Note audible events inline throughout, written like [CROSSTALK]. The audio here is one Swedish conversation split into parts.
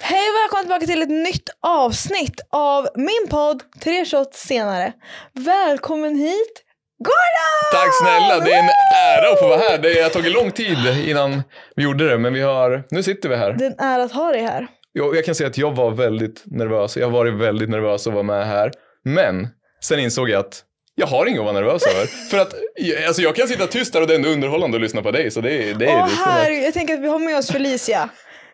Hej och välkomna tillbaka till ett nytt avsnitt av min podd Tre shots senare. Välkommen hit Gordon! Tack snälla, det är en ära att få vara här. Det har tagit lång tid innan vi gjorde det, men vi har, nu sitter vi här. Det är en ära att ha dig här. Jag, jag kan säga att jag var väldigt nervös. Jag har varit väldigt nervös att vara med här. Men sen insåg jag att jag har inget att vara nervös över. För att alltså, jag kan sitta tyst här och det är ändå underhållande att lyssna på dig. Så det, är- det är Åh riktigt här, jag tänker att vi har med oss Felicia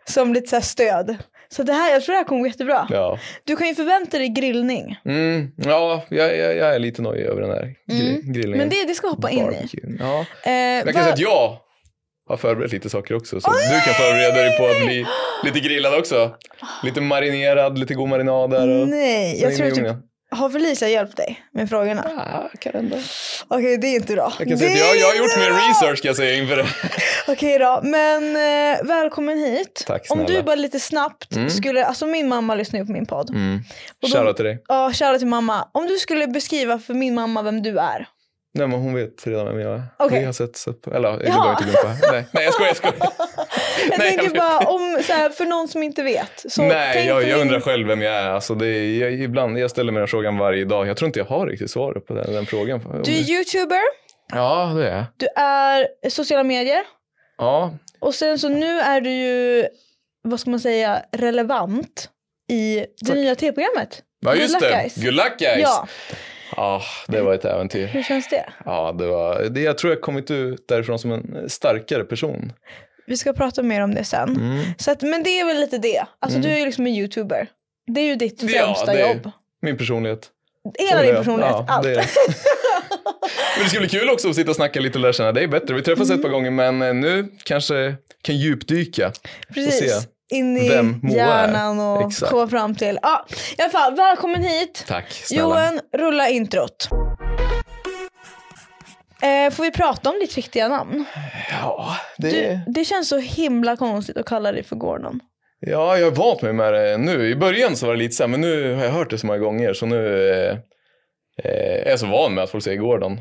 som lite så här stöd. Så det här, jag tror det här kommer gå jättebra. Ja, Du kan ju förvänta dig grillning. mm, ja jag, jag, jag är lite nojig över den här gri- grillningen. Mm. Men det, det ska jag hoppa in i. Mm. Barbecue. Ja. Eh, Men jag va- kan säga att jag har förberett lite saker också. Så du kan förbereda dig på att bli lite grillad också. Lite marinerad, lite god marinad där. Och... Nej, jag Släng tror i typ, ugnen. har Felicia hjälpt dig med frågorna? Ah, kan hända. Okej, det är inte bra. Jag kan säga Det att jag, jag har är gjort inte min bra. research ska jag säga inför det. Okej då, men eh, välkommen hit. Tack Om snälla. du bara lite snabbt skulle, alltså min mamma lyssnar ju på min podd. Mm. då- Shoutout till dig. Ja, kära till mamma. Om du skulle beskriva för min mamma vem du är. Nej men hon vet redan vem jag är. Okej. Vi har sett, sett på, eller jag Jaha. behöver inte glömma. Nej, nej jag skojar, jag skojar. [LAUGHS] Jag [LAUGHS] Nej, jag tänker vet bara om, så här, för någon som inte vet. Så nej tänk på jag, jag min- undrar själv vem jag är. Alltså, det är jag, ibland, jag ställer mig den frågan varje dag. Jag tror inte jag har riktigt svaret på den, den frågan. Om Du är youtuber, Ja det är jag. du är sociala medier Ja, och sen så nu är du ju, vad ska man säga, relevant i det Tack. nya tv-programmet. ja just Good luck, det. guys. Good luck guys. Ja, Ja, det var ett äventyr. hur känns det? Ja, det var, det, jag tror jag kommit ut därifrån som en starkare person. Vi ska prata mer om det sen. Så att, men det är väl lite det. Alltså du är ju liksom en youtuber. Det är ju ditt Mm. Ja, främsta det är- jobb. Min personlighet. Hela din personlighet, allt. det- [LAUGHS] men det skulle bli kul också att sitta och snacka lite och lära känna dig bättre. Vi träffas Mm. ett par gånger men eh, nu kanske kan djupdyka. Precis. se In i vem Moa är. hjärnan och Exakt. komma fram till. Ja, I alla fall, välkommen hit. Tack snälla. Johan, rulla introt. Eh, får vi prata om ditt riktiga namn? Ja, det... Du, det känns så himla konstigt att kalla dig för Gordon. ja, jag har vant mig med det nu. I början så var det lite så här, men nu har jag hört det så många gånger så nu eh, eh, är jag så van med att folk säger Gordon.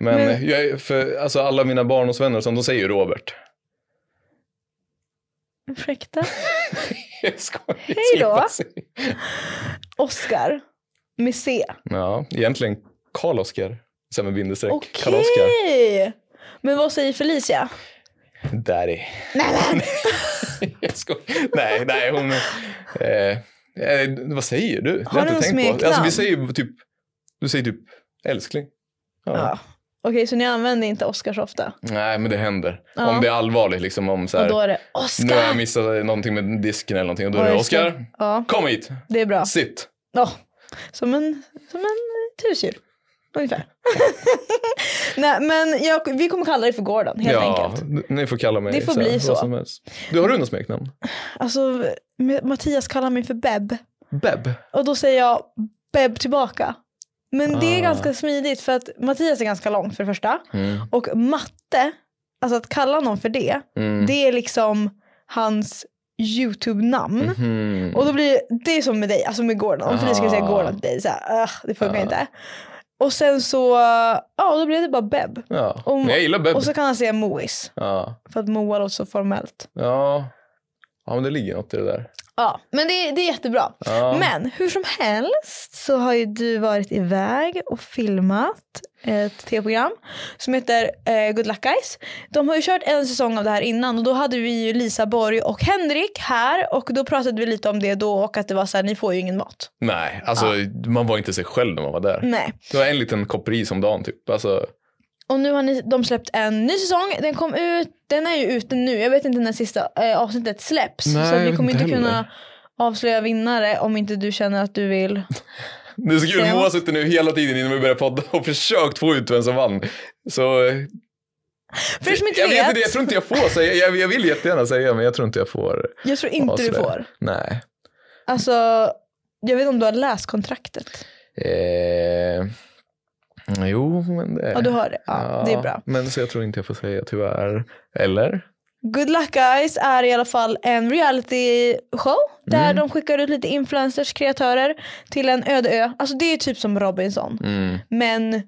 Men, Men- eh, Jag, är- för, alltså, alla mina barndomsvänner och sånt, de säger ju Robert. [LAUGHS] Ursäkta? Jag skojar. Hej då. Oscar med C. Ja, egentligen Karl-Oskar. Sen med bindestreck. Okej! Karl-Oskar. Men vad säger Felicia? Daddy. [LAUGHS] Nej, jag skojar. Nej, nej, hon... Eh, eh, vad säger du? Det Har jag du något på. smeknamn? Alltså, vi säger ju typ... Du säger typ älskling. Ja. Ja. Okej, så ni använder inte Oscar så ofta? Nej, men det händer. Ja. Om det är allvarligt, liksom om så Och här, då är det nu har jag Oscar! missat någonting med disken eller någonting och då är Ja, det just det. Oskar, Ja, kom hit, det är bra. sitt. Ja, som en, som en eh, husdjur. Ungefär. [LAUGHS] Nej, men jag, vi kommer kalla dig för Gordon helt enkelt. n- ni får kalla mig Det får här, bli vad så. som helst. Du, har du något smeknamn? Alltså, Mattias kallar mig för Beb. Beb. Och då säger jag Beb tillbaka. Men det är Ah. ganska smidigt för att Mattias är ganska lång för det första. Och matte, alltså att kalla någon för det, Mm. det är liksom hans YouTube-namn. Mhm. Och då blir det är som med dig, alltså med Gordon. Om Felicia skulle säga Ah. Gordon till dig, så här, "Ugh, det funkar Ah. inte. Och sen så, ja då blev det bara Beb. Ja. Om- men jag gillar Beb. Och så kan han säga Mois, Ja. för att Moa låter så formellt. Ja. ja, men det ligger något i det där. Ja, men det, det är jättebra. Ja. Men hur som helst så har ju du varit iväg och filmat ett tv-program som heter eh, Good Luck Guys. De har ju kört en säsong av det här innan och då hade vi ju Lisa Borg och Henrik här och då pratade vi lite om det då och att det var så här, ni får ju ingen mat. Nej, alltså man var inte sig själv när man var där. Nej. Det var en liten kopp ris om dagen typ. Alltså, Och nu har ni, de släppt en ny säsong. Den kom ut, den är ju ute nu. Jag vet inte när sista eh, avsnittet släpps. Nej, så jag att vi vet kommer inte inte kunna heller. avslöja vinnare om inte du känner att du vill. det är så kul, Säg Moa något. sitter nu hela tiden innan vi börjar podda och försökt få ut vem som vann. Så eh, För er som inte jag vet. vet inte, jag tror inte jag får säga, jag, jag vill jättegärna säga men jag tror inte jag får. jag tror inte Ja, du sådär. får. Nej. Alltså, jag vet inte om du har läst kontraktet. Eh, jo, men det... Ja, du har det. Ja, det är bra. Men så jag tror inte jag får säga tyvärr. Eller? Good Luck Guys är i alla fall en reality show där Mm. de skickar ut lite influencers, kreatörer till en öde ö. Alltså det är typ som Robinson, Mm. men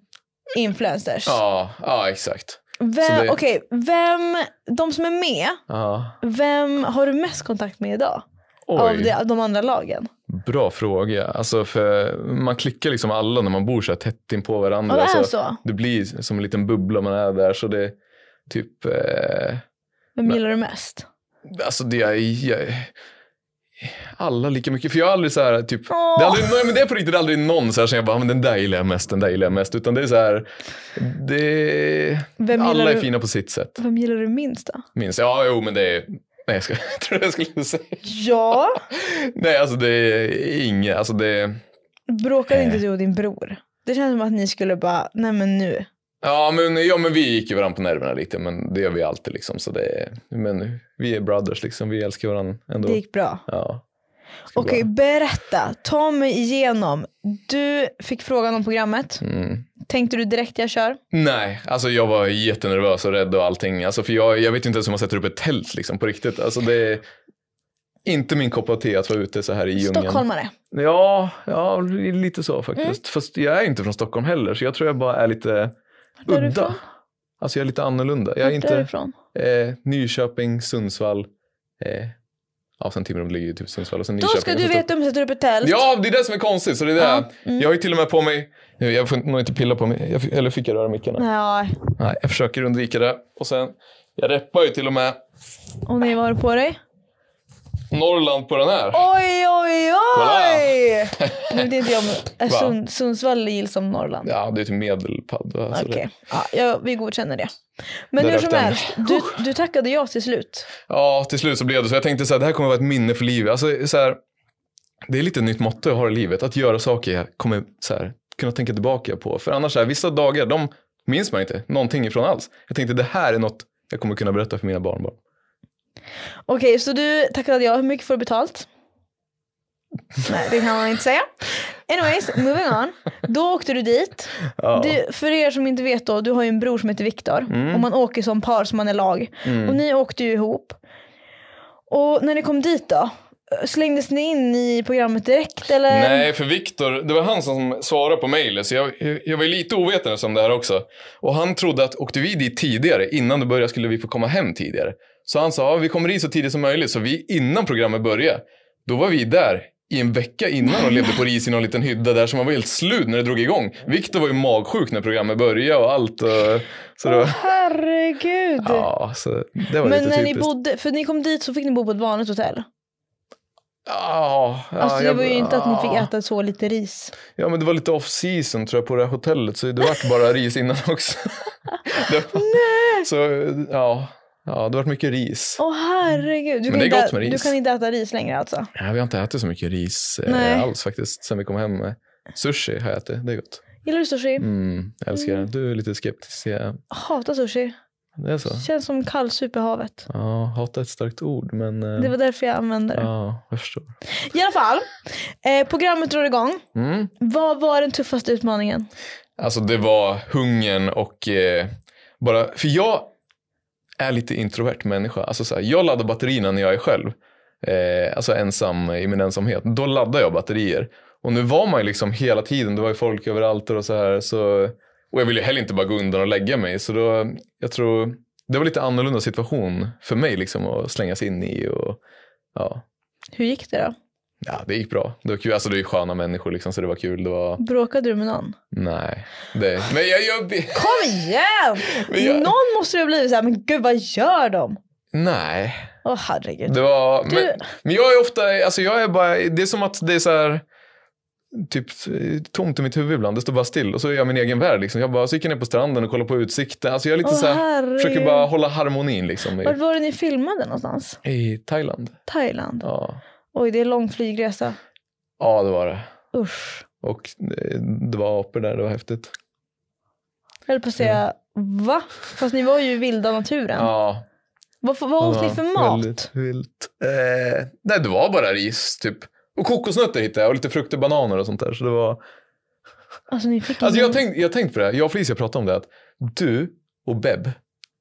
influencers. Ja, ja exakt. så Vem, det- Okej, vem, de som är med, Ja. vem har du mest kontakt med idag? Av Oj, de, av de andra lagen? bra fråga. Alltså för man klickar liksom alla när man bor så här tätt in på varandra. Ja, det är så så. Det blir som en liten bubbla man är där så det typ eh, Vem gillar du mest? Alltså det är, jag, alla lika mycket. För jag har aldrig så här typ, Åh. det är aldrig, nej, men det är på riktigt aldrig någon så här som jag bara, "Ah, men den där gillar jag mest, den där gillar jag mest. Utan det är så här, det, Vem gillar alla är du- fina på sitt sätt. Vem gillar du minst då? Minns jag. Ja, jo men det är, nej jag, ska, [LAUGHS] jag tror jag skulle säga. Ja, Nej alltså det är inget, alltså det, bråkar inte du och din bror? Det känns som att ni skulle bara, nej men nu. ja men, ja men vi gick ju varandra på nerverna lite men det gör vi alltid liksom. Så det, är- men vi är brothers liksom, vi älskar varandra ändå. Det gick bra. Ja. Det ska Okej, bra. berätta. Ta mig igenom. Du fick frågan om programmet. Mm. Tänkte du direkt jag kör? Nej, alltså jag var jättenervös och rädd och allting. Alltså för jag, jag vet inte ens hur man sätter upp ett tält liksom på riktigt. Alltså det är inte min kopp av te att vara ute så här i djungeln. Stockholmare. Ja, ja, lite så faktiskt. Mm. Fast jag är inte från Stockholm heller så jag tror jag bara är lite Vart är du udda. ifrån? Alltså jag är lite annorlunda. Jag är Vart är du inte ifrån? eh, Nyköping, Sundsvall. Eh, ja, sen Timrå ligger ju typ Sundsvall och sen Då Nyköping. ska och du sen veta om du sätter upp ett tält. Ja, det är det som är konstigt. Så det är det. Ja, mm. Jag har ju till och med på mig, jag får nog inte pilla på mig, jag, eller fick jag röra mickarna? Nej, Nej, jag försöker undvika det. Och sen, jag reppar ju till och med och ni var på dig? Norrland på den här. Oj, oj, oj! Nu Kolla. vet inte jag om är [LAUGHS] Va? Sund, Sundsvall gills som Norrland. Ja, det är typ medelpad. va? Så Okej, det- ja, jag- vi godkänner det. Men Där hur rök som den. helst, du, du tackade ja till slut. Ja, till slut så blev det så. Jag tänkte så här, det här kommer vara ett minne för livet. Alltså, så här, det är lite ett nytt motto jag har i livet. Att göra saker jag kommer så här, kunna tänka tillbaka på. För annars, så här, vissa dagar, de minns man inte någonting ifrån alls. Jag tänkte det här är något jag kommer kunna berätta för mina barnbarn. Okej, så du tackade ja. Hur mycket får du [LAUGHS] betalt? Nej, det kan man inte säga. Anyways, moving on. Då åkte du dit. Ja. Mm. Du, för er som inte vet då, du har ju en bror som heter Viktor. Och man åker som par, som man är lag. Och ni åkte ju ihop. Och när ni kom dit då? Slängdes ni in i programmet direkt eller? Nej, för Viktor, det var han som svarade på mejlet, så jag, jag var ju lite ovetande om det här också. Och han trodde att åkte vi dit tidigare, innan det började, skulle vi få komma hem tidigare. Så han sa, ja, vi kommer dit så tidigt som möjligt. Så vi, innan programmet började, då var vi där i en vecka innan och levde på ris i någon liten hydda där, så man var helt slut när det drog igång. Viktor var ju magsjuk när programmet började och allt. Och, så det Åh var, herregud. ja, så det var Men lite när ni typiskt. bodde, för ni kom dit så fick ni bo på ett vanligt hotell. Ja, ja, Alltså det jag- var ju inte att ni fick ja. äta så lite ris. Ja men det var lite off season tror jag på det här hotellet så det vart bara ris innan också. [LAUGHS] det var, Nej. Så ja, ja det vart mycket ris. Åh herregud. Du Men kan, det är inte, gott med ä- du ris. kan inte äta ris längre alltså? Nej, vi har inte ätit så mycket ris eh, Nej. alls faktiskt sen vi kom hem. Sushi har jag ätit, det är gott. Gillar du sushi? Mm, jag älskar det. Du är lite skeptisk. Ja. Hatar sushi. Det är så. Känns som kallsup i havet. Ja, hata är ett starkt ord men eh, Det var därför jag använde det. ja, jag förstår. I alla fall, eh, programmet drar igång. Mm. Vad var den tuffaste utmaningen? Alltså det var hungern och eh, bara, för jag är lite introvert människa. Alltså så här, jag laddar batterierna när jag är själv. Eh, alltså ensam i min ensamhet. Då laddar jag batterier. Och nu var man ju liksom hela tiden, det var ju folk överallt och så här. Så, och jag ville ju heller inte bara gå undan och lägga mig. Så då, jag tror, det var lite annorlunda situation för mig liksom att slängas in i. Och, ja. Hur gick det då? ja, det gick bra. Det var kul. Alltså det är ju sköna människor liksom så det var kul. Det var, Bråkade du med någon? nej. Det, men jag, jag, Kom igen! Men jag- Någon måste det ha blivit så här, men gud vad gör de? nej. Åh herregud. Det var, Du- men, men jag är ofta, alltså jag är bara, det är som att det är så här typ eh, tomt i mitt huvud ibland. Det står bara still och så är jag min egen värld liksom. Jag bara, så gick jag ner på stranden och kollade på utsikten. Alltså jag är lite Åh, så här, herregud. försöker bara hålla harmonin liksom Vart i, var det ni filmade någonstans? i Thailand. Thailand? Ja. Oj, det är lång flygresa. ja, det var det. Usch. Och eh, det var apor där, det var häftigt. Jag höll på att säga Va? Fast ni var ju i vilda naturen. Ja, Vad, vad åt Ja, ni för mat? Väldigt vilt. Eh, nej, det var bara ris typ. Och kokosnötter hittade jag och lite frukter, bananer och sånt där. Så det var... Alltså ni fick Alltså ingen- jag tänkt, jag tänkt på det, här. jag och Felicia pratade om det. Att du och Beb,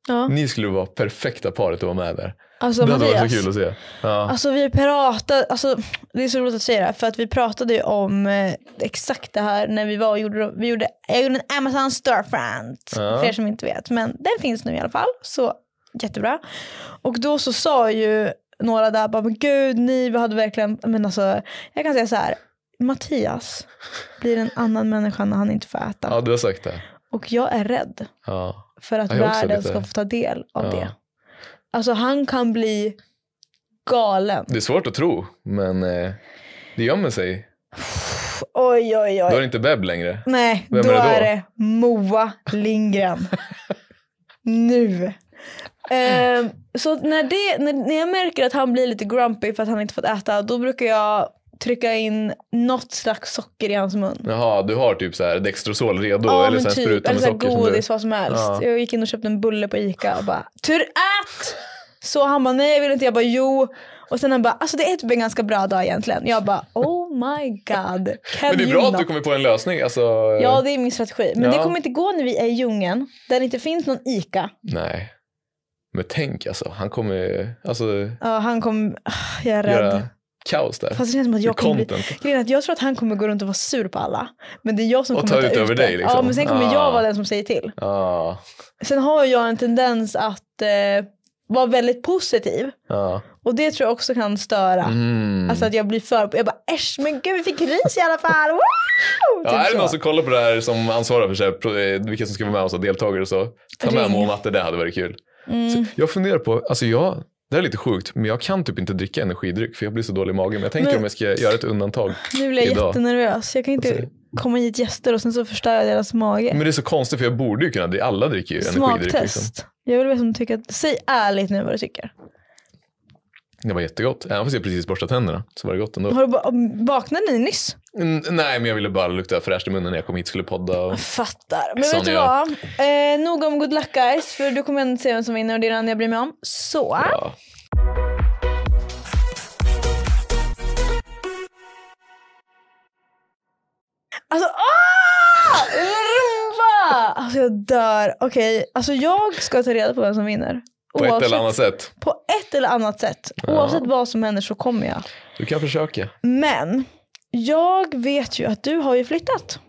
ja. ni skulle vara perfekta paret att vara med där. Alltså det hade varit Mattias. så kul att se. Ja. Alltså vi pratade, alltså, det är så roligt att säga det här, för att vi pratade ju om eh, exakt det här när vi var och gjorde, vi gjorde, jag gjorde en Amazon storefront Ja. för er som inte vet, men den finns nu i alla fall, så jättebra. Och då så sa ju några där bara, men gud ni hade verkligen, men alltså jag kan säga så här, Mattias blir en annan människa när han inte får äta. ja, du har sagt det. Och jag är rädd Ja. för att Ja, jag är också världen lite- ska få ta del av Ja. det. Alltså han kan bli galen. Det är svårt att tro, men eh, det gömmer sig. Oj oj Då är oj. det inte Beb längre. Nej, Vem då, är det då? är det Moa [LAUGHS] Lindgren. nu. Ehm, så att när, det, när, när jag märker att han blir lite grumpy för att han inte fått äta, då brukar jag trycka in något slags socker i hans mun. Jaha, du har typ så här Dextrosol redo men eller typ. så här spruta eller med så här socker. som godis, vad som helst. Ja. Jag gick in och köpte en bulle på Ica och bara “Tur ät!” Så han bara “Nej jag vill inte”, jag bara “Jo”. Och sen han bara “Alltså det är typ en ganska bra dag egentligen”. Jag bara “Oh my god, can [LAUGHS] Men det är you bra not?" att du kommer på en lösning. Alltså, eh, Ja, det är min strategi. Men Ja. det kommer inte gå när vi är i djungeln, där det inte finns någon ICA. Nej. Men tänk alltså, han kommer ju alltså, Ja, han kommer... Ah, Jag är rädd. göra kaos där. Fast det känns som att jag I kommer bli... content. Grejen är att jag tror att han kommer gå runt och vara sur på alla. Men det är jag som Och kommer ta ut ta över ut det. dig, liksom. Ja, men sen kommer Ah. jag vara den som säger till. Ja, Sen har jag en tendens att eh, vara väldigt positiv. ja. Och det tror jag också kan störa. Mm. Alltså att jag blir för... Jag bara äsch, men gud vi fick ris i alla fall! Wow! ja, Typ är det så. någon som kollar på det här som ansvarar för så här, pro- eh, vilka som ska vara med oss och deltagare och så? Ta med Ring. Moa och Matte, det hade varit kul. Mm. Så jag funderar på, alltså jag, det här är lite sjukt, men jag kan typ inte dricka energidryck för jag blir så dålig i magen. Men jag tänker Men- om jag ska göra ett undantag. Nu blir jag idag. jättenervös. Jag kan inte Alltså- komma hit gäster och sen så förstör jag deras mage. Men det är så konstigt för jag borde ju kunna, det- alla dricker ju energidryck. Liksom. Smaktest. Jag vill veta om du tycker att, säg ärligt nu vad du tycker. Det var jättegott, även fast jag precis borstat tänderna så var det gott ändå. Har du ba- vaknade ni nyss? Mm, nej, men jag ville bara lukta fräscht i munnen när jag kom hit och skulle podda. Och... Fattar. Men Sån vet du är jag. vad? Eh, nog om good luck guys, för du kommer ändå se vem som vinner och det är det enda jag bryr mig om. Så. Ja. Alltså, ah! Rumba! Alltså jag dör. Okej, alltså jag ska ta reda på vem som vinner. På ett eller Oavsett- annat sätt. på ett eller annat sätt. Oavsett vad som händer så kommer jag. Du kan försöka. Men jag vet ju att du har ju flyttat.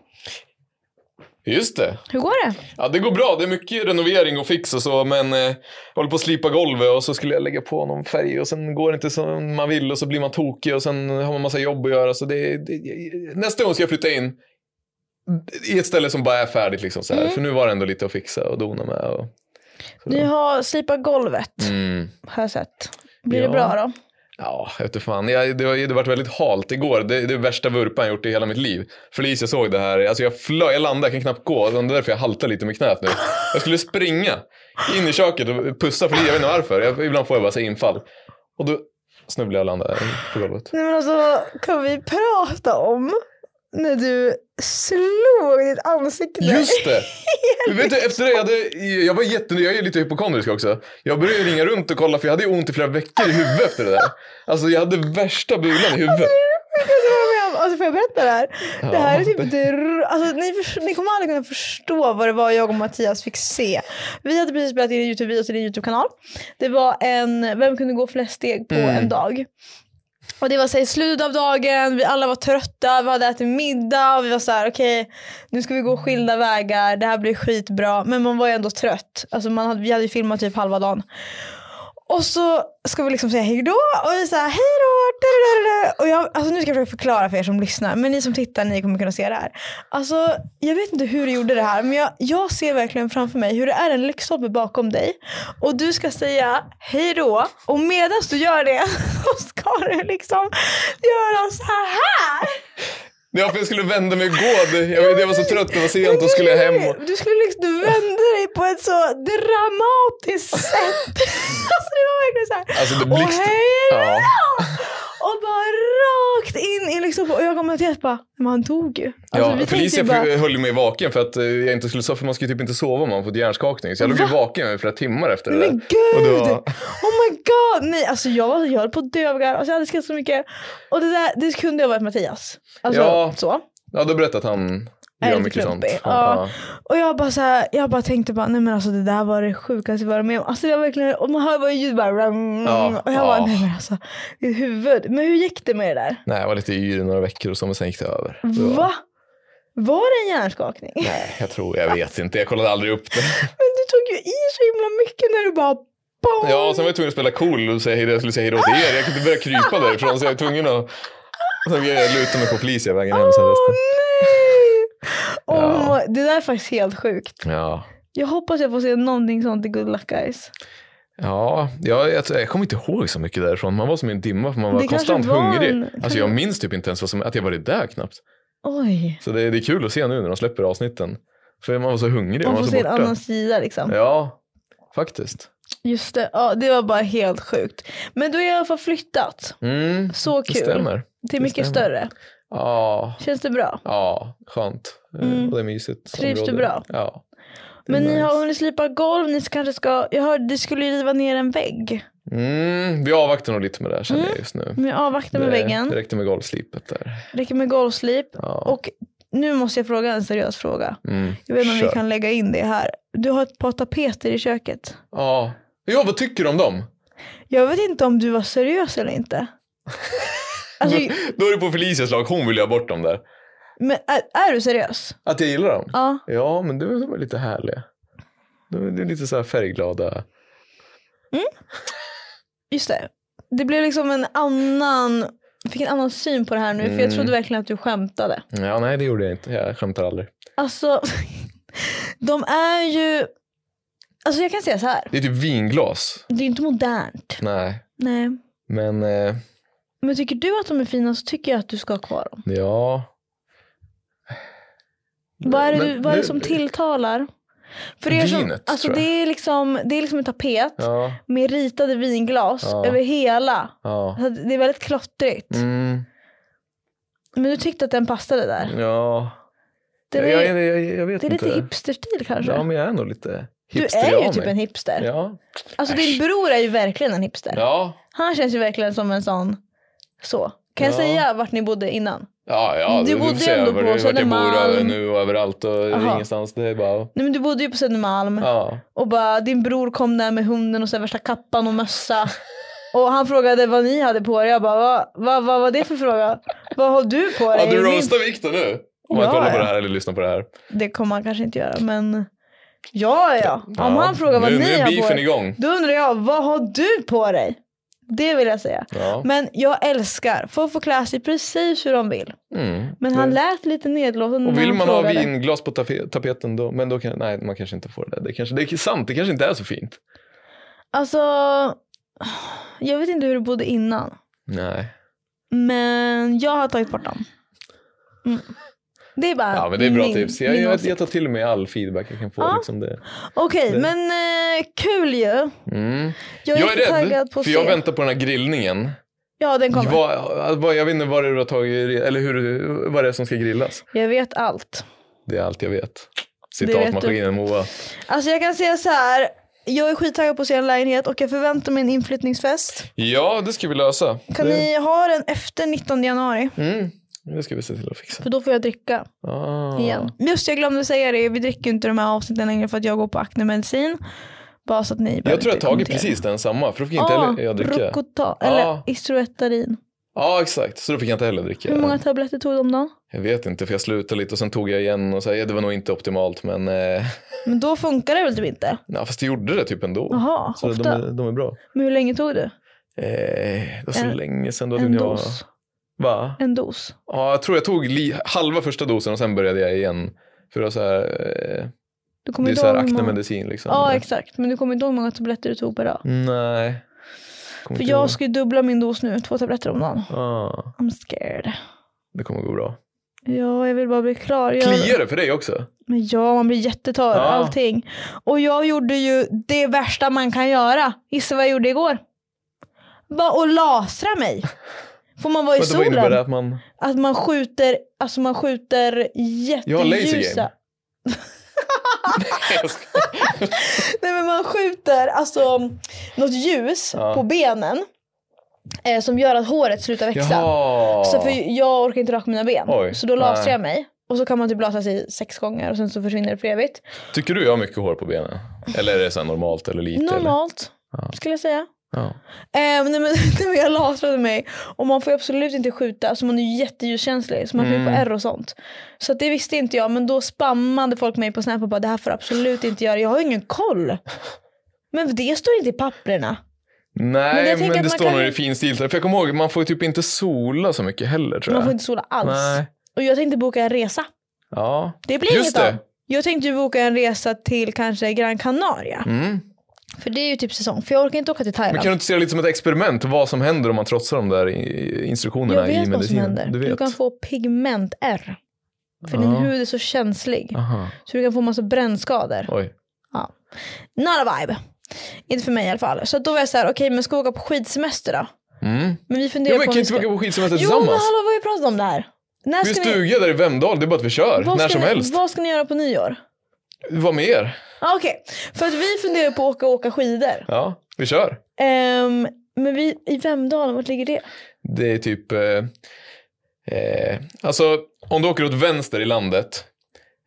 Just det. Hur går det? Ja, det går bra. Det är mycket renovering och fix och så, men eh, jag håller på att slipa golvet och så skulle jag lägga på någon färg och sen går det inte som man vill och så blir man tokig och sen har man massa jobb att göra. Så det, det, nästa gång ska jag flytta in i ett ställe som bara är färdigt. Liksom, så här. För nu var det ändå lite att fixa och dona med. Och, Ni har slipat golvet mm. har jag sett. Blir Ja. det bra då? Ja, jag vet inte fan. Jag, det, var, det varit väldigt halt igår. Det är det värsta vurpan jag gjort i hela mitt liv. Felicia såg det här. Alltså jag flög, jag landade, jag kan knappt gå. Det är därför jag haltar lite med knät nu. Jag skulle springa in i köket och pussa Felicia. Jag vet inte varför. Jag, ibland får jag bara säga infall. Och då snubblade jag och landade på golvet. Nej men alltså kan vi prata om när du slog ditt ansikte? Just det! Vet du, efter det, jag, hade, jag var jätte, jag är lite hypokondrisk också. Jag började ringa runt och kolla för jag hade ju ont i flera veckor i huvudet efter det där. Alltså jag hade värsta bulan i huvudet. Alltså, jag var med om- alltså får jag berätta det här? det här är Ja, typ det... ro- Alltså, ni, förs- ni kommer aldrig kunna förstå vad det var jag och Mattias fick se. Vi hade precis spelat in en Youtube-video till en Youtube-kanal. Det var en Vem kunde gå flest steg på Mm. en dag? Och det var så här, i slutet av dagen, vi alla var trötta, vi hade ätit middag och vi var så här: okej nu ska vi gå skilda vägar, det här blir skitbra. Men man var ju ändå trött. Alltså man hade, vi hade ju filmat typ halva dagen. Och så ska vi liksom säga hej då och vi säger hej då. da, da, da, da. Och jag, alltså nu ska jag försöka förklara för er som lyssnar, men ni som tittar ni kommer kunna se det här. Alltså, jag vet inte hur du gjorde det här, men jag, jag ser verkligen framför mig hur det är en lyktstolpe bakom dig och du ska säga hej då och medan du gör det [LAUGHS] så ska du liksom göra så här. Ja, för jag skulle vända mig och gå. Det- Jag, vet, jag var så trött, det var sent och skulle jag hem. Och... Du skulle liksom, du vände dig på ett så dramatiskt sätt. [LAUGHS] alltså det var verkligen så här. Alltså, det och blixt- hej då! Ja. Och bara rakt in i liksom, och jag kommer till att bara, men han dog ju. Alltså, ja, vi tänkte ju Felicia bara, för- höll mig vaken för att eh, jag inte skulle sova, för man ska ju typ inte sova om man fått hjärnskakning. Så jag låg ju Va? vaken i flera timmar efter det men där. Och det gud! var- Oh my god! Nej, alltså jag, var, jag höll på att dö av garv. Alltså, jag hade skrattat så mycket. Och det där, det kunde ha varit Mattias. Alltså, Ja. så. Ja, då berättade att han Är gör lite mycket sånt. klumpig. Ja. Och jag bara, så här, jag bara tänkte bara, nej men alltså det där var det sjukaste jag varit med om. Alltså det var verkligen, och man hör bara ljud bara. Ja, och jag bara, ja. nej men alltså, ditt huvud. Men hur gick det med det där? Nej, jag var lite yr i några veckor och så, men sen gick det över. Det var- Va? Var det en hjärnskakning? Nej, jag tror, jag vet inte. Jag kollade aldrig upp det. Men du tog ju i så himla mycket när du bara boom. Ja, och sen var jag tvungen att spela cool och säga hej, jag skulle säga hejdå till er. Jag kunde inte börja krypa därifrån så jag var tvungen att... Sen blev jag luta mig på Felicia vägen hem sen Åh resten. nej! Oh, [LAUGHS] Ja. my- Det där är faktiskt helt sjukt. Ja. Jag hoppas jag får se någonting sånt i Good Luck Guys. Ja, jag, jag, jag kommer inte ihåg så mycket därifrån. Man var som i en dimma för man var Det kanske konstant var en- hungrig. kan- Alltså jag minns typ inte ens vad som, att jag varit där knappt. Oj, Så det, det är kul att se nu när de släpper avsnitten. För man var så hungrig, man, man får se var så en borta. annan sida liksom. Ja, faktiskt. Just det, ja, det var bara helt sjukt. Men du har jag i alla fall flyttat. Mm, Så kul. det stämmer. Till mycket stämmer. större. Ja, Känns det bra? ja skönt. Mm. Mm. Och det är mysigt. Trivs område. du bra? Ja. Det är Men ni nice. har hunnit slipa golv, ni kanske ska, jag hörde ni skulle riva ner en vägg. Mm, vi avvaktar nog lite med det här känner Mm. jag just nu. Men jag avvaktar med det, väggen, det räckte med golvslipet där. räcker med golvslip. Ja. Och nu måste jag fråga en seriös fråga. mm. Jag vet inte om vi Kör. kan lägga in det här. Du har ett par tapeter i köket. Ja. ja, vad tycker du om dem? Jag vet inte om du var seriös eller [LAUGHS] inte. Alltså, Då är det på Felicias lag, hon vill ju ha bort dem där. men är, är du seriös? Att jag gillar dem? Ja. Ja, men de är, de är lite härliga. De är, de är lite så här färgglada. Just det. Det blev liksom en annan, jag fick en annan syn på det här nu för jag Mm. trodde verkligen att du skämtade. Ja, nej det gjorde jag inte. Jag skämtar aldrig. Alltså, [LAUGHS] de är ju, alltså jag kan säga så här, Det är typ vinglas. det är inte modernt. Nej, Nej. men eh, Men tycker du att de är fina så tycker jag att du ska ha kvar dem. ja. Vad är det, Men du, vad är det nu- som tilltalar? För er som, Vinet, alltså tror jag. det är liksom, det är liksom en tapet Ja, med ritade vinglas Ja. över hela. ja. Alltså, det är väldigt klottrigt. Mm, Men du tyckte att den passade där. ja. Den är, jag, jag, jag, jag vet det är inte. lite hipsterstil kanske. Ja, men jag är nog lite du hipster. är ju jag typ med. en hipster. Ja. Alltså din bror är ju verkligen en hipster. Ja. Han känns ju verkligen som en sån. Så. Kan jag Ja. säga vart ni bodde innan? Ja, ja, Du du, du bodde får säga ändå var- på vart jag bor Södermalm. och nu och överallt och Aha. ingenstans. Det är bara, Nej men du bodde ju på Södermalm ja. och bara din bror kom där med hunden och så här värsta kappan och mössa. Och han frågade vad ni hade på er. Jag bara vad va, va, var det för fråga? Vad har du på dig? ja du Min- roastar Viktor nu. Om han Ja, kollar på ja. det här eller lyssnar på det här. Det kommer han kanske inte göra men ja ja. Om Ja. han frågar vad nu, ni nu är har på beefen er. igång. Då undrar jag vad har du på dig? Det vill jag säga. Ja. Men jag älskar, folk får klä sig precis hur de vill. Mm. Men han Det- lät lite nedlåtande och när vill han man ha frågade. vinglas på tafe- tapeten då, men då kan, nej man kanske inte får det. Det, kanske, det är sant, det kanske inte är så fint. Alltså, jag vet inte hur du bodde innan. Nej. Men jag har tagit bort dem. Mm. Det är bara Ja men det är bra min, tips. Jag, min jag, åsikt. jag tar till mig all feedback jag kan få. Ja. Liksom det. Okej, det- men eh, kul ju. Mm. Jag är, jag lite är taggad rädd, på att för jag se. väntar på den här grillningen. Ja, den kommer. Vad, vad, jag vet inte vad det är du har tagit, eller hur, vad det är som ska grillas. Jag vet allt. Det är allt jag vet. vet du. Citatmaskinen Moa. Alltså jag kan säga så här. Jag är skittaggad på att se en lägenhet och jag förväntar mig en inflyttningsfest. Ja, det ska vi lösa. Kan det, ni ha den efter 19 januari? Mm, det ska vi se till att fixa. För då får jag dricka. Ah. igen. Just det, jag glömde säga det. Vi dricker ju inte de här avsnitten längre för att jag går på aknemedicin. Bara så att ni Jag behöver tror jag inte tagit kommentera. precis den samma, för då fick jag inte Ah, heller jag dricka. Ja, Rokota, eller Ah. Istroetarin. exakt. Så då fick jag inte heller dricka. Hur många tabletter tog du om dagen? Jag vet inte, för jag slutade lite och sen tog jag igen och så här, ja, det var nog inte optimalt, men eh, Men då funkar det väl typ inte? ja, fast det gjorde det typ ändå. Oh. Jaha, så de, ofta. är- de är bra. Men hur länge tog du? Eh, det var så En- länge sedan då. En jag var- dos? Va? En dos? Ja, jag tror jag tog li- halva första dosen och sen började jag igen. För det var så här, eh, Du kommer det är inte så här ihåg hur många- aknemedicin liksom. Ja exakt, men du kommer inte ihåg hur många tabletter du tog per Mm, dag? Nej. Kommer För inte ihåg. jag ska ju dubbla min dos nu, två tabletter om dagen. Ah, I'm scared. det kommer gå bra. Ja, jag vill bara bli klar. Jag... Kliar det för dig också? Men ja, man blir jättetorr. Ja. Allting. Och jag gjorde ju det värsta man kan göra. Gissa vad jag gjorde igår? Var och lasra mig. Får man vara i Vänta, vad innebär det solen? att man... Att man skjuter, alltså man skjuter Jag har laser jätteljusa. [LAUGHS] game. Jag ska- Nej men man skjuter alltså något ljus Ja. på benen eh, som gör att håret slutar växa. Jaha. Så för jag orkar inte raka mina ben. Oj. Så då lasrar Nej. jag mig. Och så kan man typ lasra sig sex gånger och sen så försvinner det för evigt. Tycker du jag har mycket hår på benen? Eller är det så här normalt eller lite? Eller? Normalt Ja. skulle jag säga. Ja. Eh, nej, men, [LAUGHS] nej, men jag lasrade mig och man får ju absolut inte skjuta, alltså man är ju jätteljuskänslig så man kan ju få Mm. ärr och sånt. Så att det visste inte jag men då spammade folk mig på Snap och bara det här får du absolut inte göra, jag har ju ingen koll. Men det står inte i papperna. Men Nej, jag men, tänker att det man står kan nog ju- i finstilta. För jag kommer ihåg, man får ju typ inte sola så mycket heller tror jag. Man får inte sola alls. Nej. Och jag tänkte boka en resa. Ja. Det blir Just inget av. det. Jag tänkte ju boka en resa till kanske Gran Canaria. Mm. För det är ju typ säsong. För jag orkar inte åka till Thailand. Men kan du inte se det lite som ett experiment? Vad som händer om man trotsar de där i- jag instruktionerna vet i vad som medicinen? händer. Du Du, vet. kan få pigmentärr. För Ja. din hud är så känslig. Aha. Så du kan få massa brännskador. Oj. Not a vibe. Inte för mig i alla fall. Så att då var jag så här, okej men ska vi åka på skidsemester då? Mm. Men vi funderar Jo, men på om kan vi inte vi åka på skidsemester Jo men tillsammans? hallå vad har vi pratat om det här? När Vi är ska ni... stuga där i Vemdal, det är bara att vi kör. vad När ska som ni... helst. Vad ska ni göra på nyår? Var med er. Ah, Okej, för att vi funderar på att åka, åka skidor. Ja, vi kör. Ehm, men vi, i Vemdalen, vart ligger det? Det är typ... Eh, eh, alltså, om du åker åt vänster i landet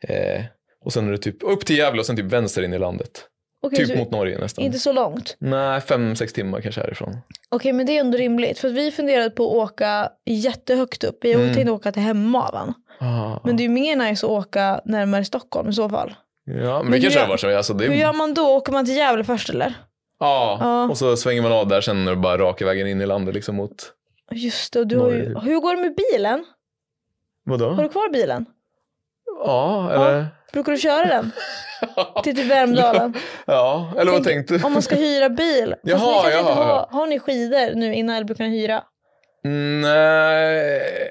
eh, och sen är det typ upp till Gävle och sen typ vänster in i landet. Okej, Typ så mot Norge nästan. Inte så långt. Nej, fem, sex timmar kanske härifrån. Okej men det är ändå rimligt. För att vi funderade på att åka jättehögt upp. Vi Mm. tänkte åka till Hemavan. Ah. Men det är ju mer nice att åka närmare Stockholm i så fall. ja, men hur det kanske gör- är vart som alltså, det Hur är... gör Ja, man då? Åker man till Gävle först eller? Ja. och så svänger man av där sen är det bara raka vägen in i landet liksom mot... Just det, och du har ju... Norge. typ. Hur går det med bilen? Har Vadå? du kvar bilen? Ja, eller... Brukar du köra den? Till typ Värmdalen? [LAUGHS] ja, eller vad Tänk tänkte du? Om man ska hyra bil. Fast Jaha, ni kanske inte ja, har, ja. har ni skidor nu innan eller brukar ni hyra? Nej...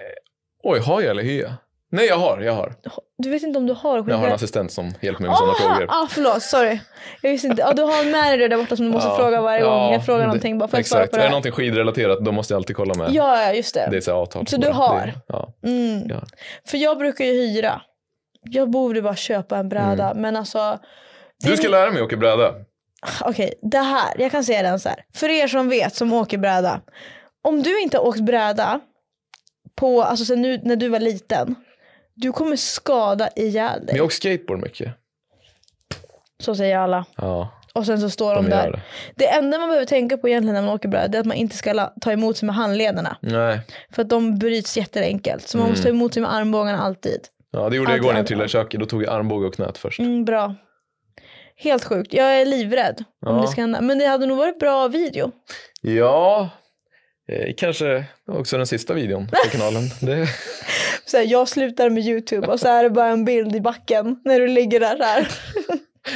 Oj, har jag eller hyr jag? Nej, jag har, jag har. Du vet inte om du har skidor? Jag har en assistent som hjälper mig med sådana Ah, frågor. ah, förlåt, sorry. Jag visste inte. Ja, du har en manager där borta som du måste Ja, fråga varje ja, gång jag frågar det- någonting. Bara för att svara Exakt, på är det det här. någonting skidrelaterat då måste jag alltid kolla med. Ja, ja, just det. Det är så här avtal. Så du bara. har? Det- Ja. Mm. Ja. För jag brukar ju hyra. Jag borde bara köpa en bräda. Men alltså, Det- Mm. Du ska lära mig att åka bräda. okej, det här. Jag kan säga den så här. För er som vet, som åker bräda. Om du inte har åkt bräda på, alltså sen nu, när du var liten. Du kommer skada ihjäl Men dig. jag åker skateboard mycket. Så säger alla. Ja, Och sen så står de, de gör där. det. Det enda man behöver tänka på egentligen när man åker bräda det är att man inte ska la- ta emot sig med handlederna. Nej. För att de bryts jätteenkelt. Mm. Så man måste ta emot sig med armbågarna alltid. Ja, det gjorde jag Alltid igår när jag armbåge. trillade i köket. Då tog jag armbåge och knät först. Mm, bra. Helt sjukt. Jag är livrädd om Ja. det ska hända. Men det hade nog varit bra video. Ja, eh, kanske också den sista videon på kanalen. Det... [LAUGHS] Så här, jag slutar med YouTube och så är det bara en bild i backen när du ligger där. Så här.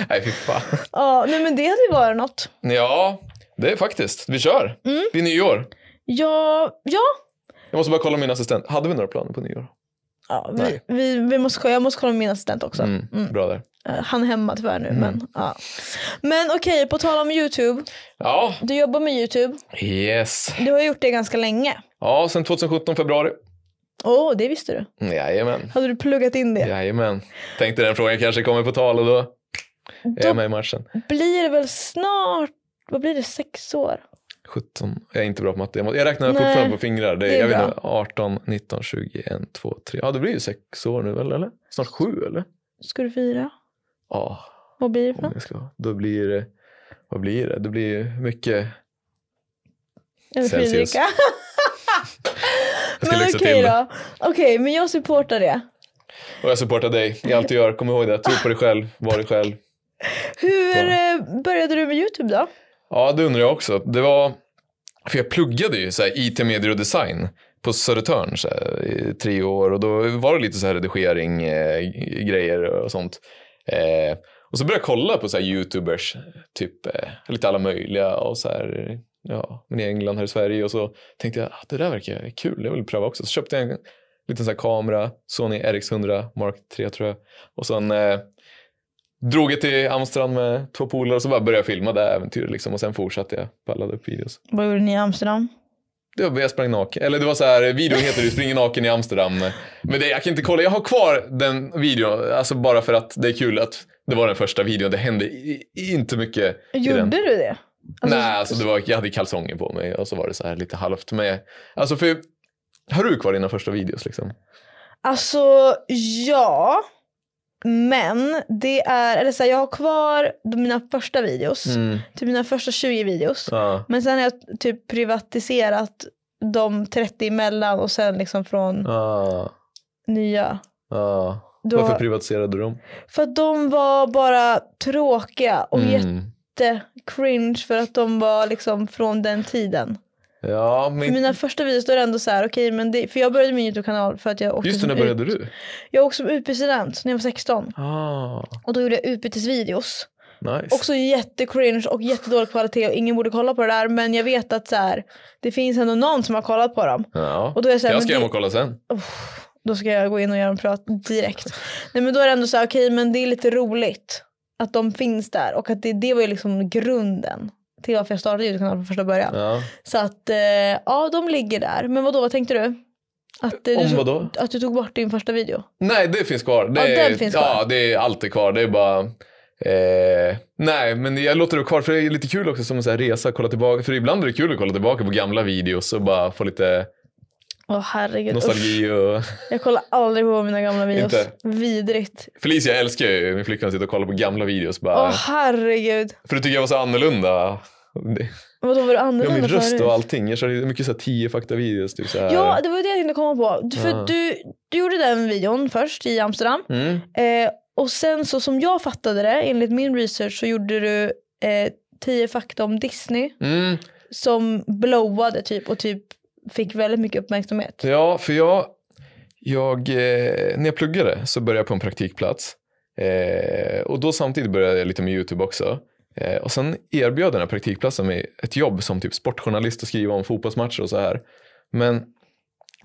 Nej, fy fan. Ja, nej men det hade ju varit något. Ja, det är faktiskt. Vi kör. Mm. Det är nyår. Ja, ja. Jag måste bara kolla med min assistent. Hade vi några planer på nyår? ja vi, Nej. vi, vi måste, jag måste kolla med min assistent också. Mm, Bra där. Eh, Han är hemma tyvärr nu. Men, ja. men okej, på tal om YouTube. Ja, Du jobbar med YouTube. yes. Du har gjort det ganska länge. Ja, sen 2017 februari. Åh, det visste du. Jajamän. Hade du pluggat in det? Jajamän. Tänkte den frågan kanske kommer på tal och då är Då jag med i matchen. blir det väl snart, vad blir det, sex år? 17. Jag är inte bra på matte. Jag må- Jag räknar Nej, fortfarande på fingrar. Det är, det är jag vet bra. inte, 18, 19, 20, 1, 2, 3. Ja, det blir ju sex år nu väl, eller? Snart sju, eller? Ska du fira? Ja, Vad blir det för om något? jag ska. Då blir det... Vad blir det? Det blir ju mycket... Celsius. Energidricka? Jag [LAUGHS] ska men lyxa okej till det. då. Okej, men jag supportar det. Och jag supportar dig i allt du gör. Kom ihåg det. Tro på dig själv. Var dig själv. Hur eh, började du med YouTube då? Ja, det undrar jag också. Det var... För jag pluggade ju så här, IT, medier och design på Södertörn så här, i tre år och då var det lite så här redigering, eh, grejer och sånt. Eh, och så började jag kolla på så här, YouTubers, typ eh, lite alla möjliga och så här, ja, men i England här i Sverige och så tänkte jag att det där verkar kul, jag vill pröva också. Så köpte jag en liten så här kamera, Sony RX100 Mark III tror jag och sen eh, Drog jag till Amsterdam med två polare och så bara började jag filma det här äventyret liksom. Och sen fortsatte jag på alla upp videos. Vad gjorde ni i Amsterdam? Det var, jag sprang naken. Eller det var så här, videon heter Du springer naken i Amsterdam. Men det, jag kan inte kolla, jag har kvar den videon. Alltså bara för att det är kul att det var den första videon. Det hände i, i- inte mycket i Gjorde den. du det? Alltså, Nej, alltså det var, jag hade kalsonger på mig och så var det så här lite halvt med. Alltså för, har du kvar dina första videos liksom? Alltså ja. Men det är, eller så här, jag har kvar de- mina första videos. Mm. Typ mina första 20 videos. Ja, Men sen har jag typ privatiserat de 30 emellan och sen liksom från ja, nya. ja. Då, Varför privatiserade du dem? för att de var bara tråkiga och Mm. jättecringe för att de var liksom från den tiden. Ja, För men mina första videos då är det ändå så här, okej men det, för jag började min YouTube-kanal för att jag åkte just det, när som började ut- du? Jag åkte som utbytesstudent när jag var 16 Ah, och då gjorde jag utbytesvideos. nice. Också jättecringe och jättedålig kvalitet och ingen borde kolla på det där men jag vet att så här, det finns ändå någon som har kollat på dem. ja. Och då är jag så här, Jag men ska hem det- och kolla sen. Uff, då ska jag gå in och göra en prat direkt. Nej men då är det ändå så här, okej men det är lite roligt att de finns där och att det, det var ju liksom grunden till varför jag startade YouTube-kanalen från första början. Ja. Så att eh, ja, de ligger där. Men vad då, vad tänkte du? Att, eh, Om du, vadå? att du tog bort din första video? Nej, det finns kvar. Det Ja, är, den finns Ja, kvar. det är alltid kvar. Det är bara... Eh, nej, men jag låter det kvar för det är lite kul också som en sån här resa, kolla tillbaka. För ibland är det kul att kolla tillbaka på gamla videos och bara få lite Åh herregud. Usch. nostalgi. Och... Jag kollar aldrig på mina gamla videos. Inte? Vidrigt. Felicia älskar ju min flickvän sitter och kollar på gamla videos. Åh Bara, herregud. För du tycker jag var så annorlunda. Det- Vadå var du Ja, annorlunda min röst förut? och allting. Jag körde mycket så här tio fakta videos. Typ så här. Ja, det var ju det jag tänkte komma på. För Ja. du, du gjorde den videon först i Amsterdam. Mm. Eh, och sen så som jag fattade det, enligt min research så gjorde du eh, tio fakta om Disney Mm. som blowade typ och typ fick väldigt mycket uppmärksamhet. Ja, för jag, jag, eh, när jag pluggade så började jag på en praktikplats. Eh, och då samtidigt började jag lite med YouTube också. Eh, och sen erbjöd den här praktikplatsen mig ett jobb som typ sportjournalist och skriva om fotbollsmatcher och så här. Men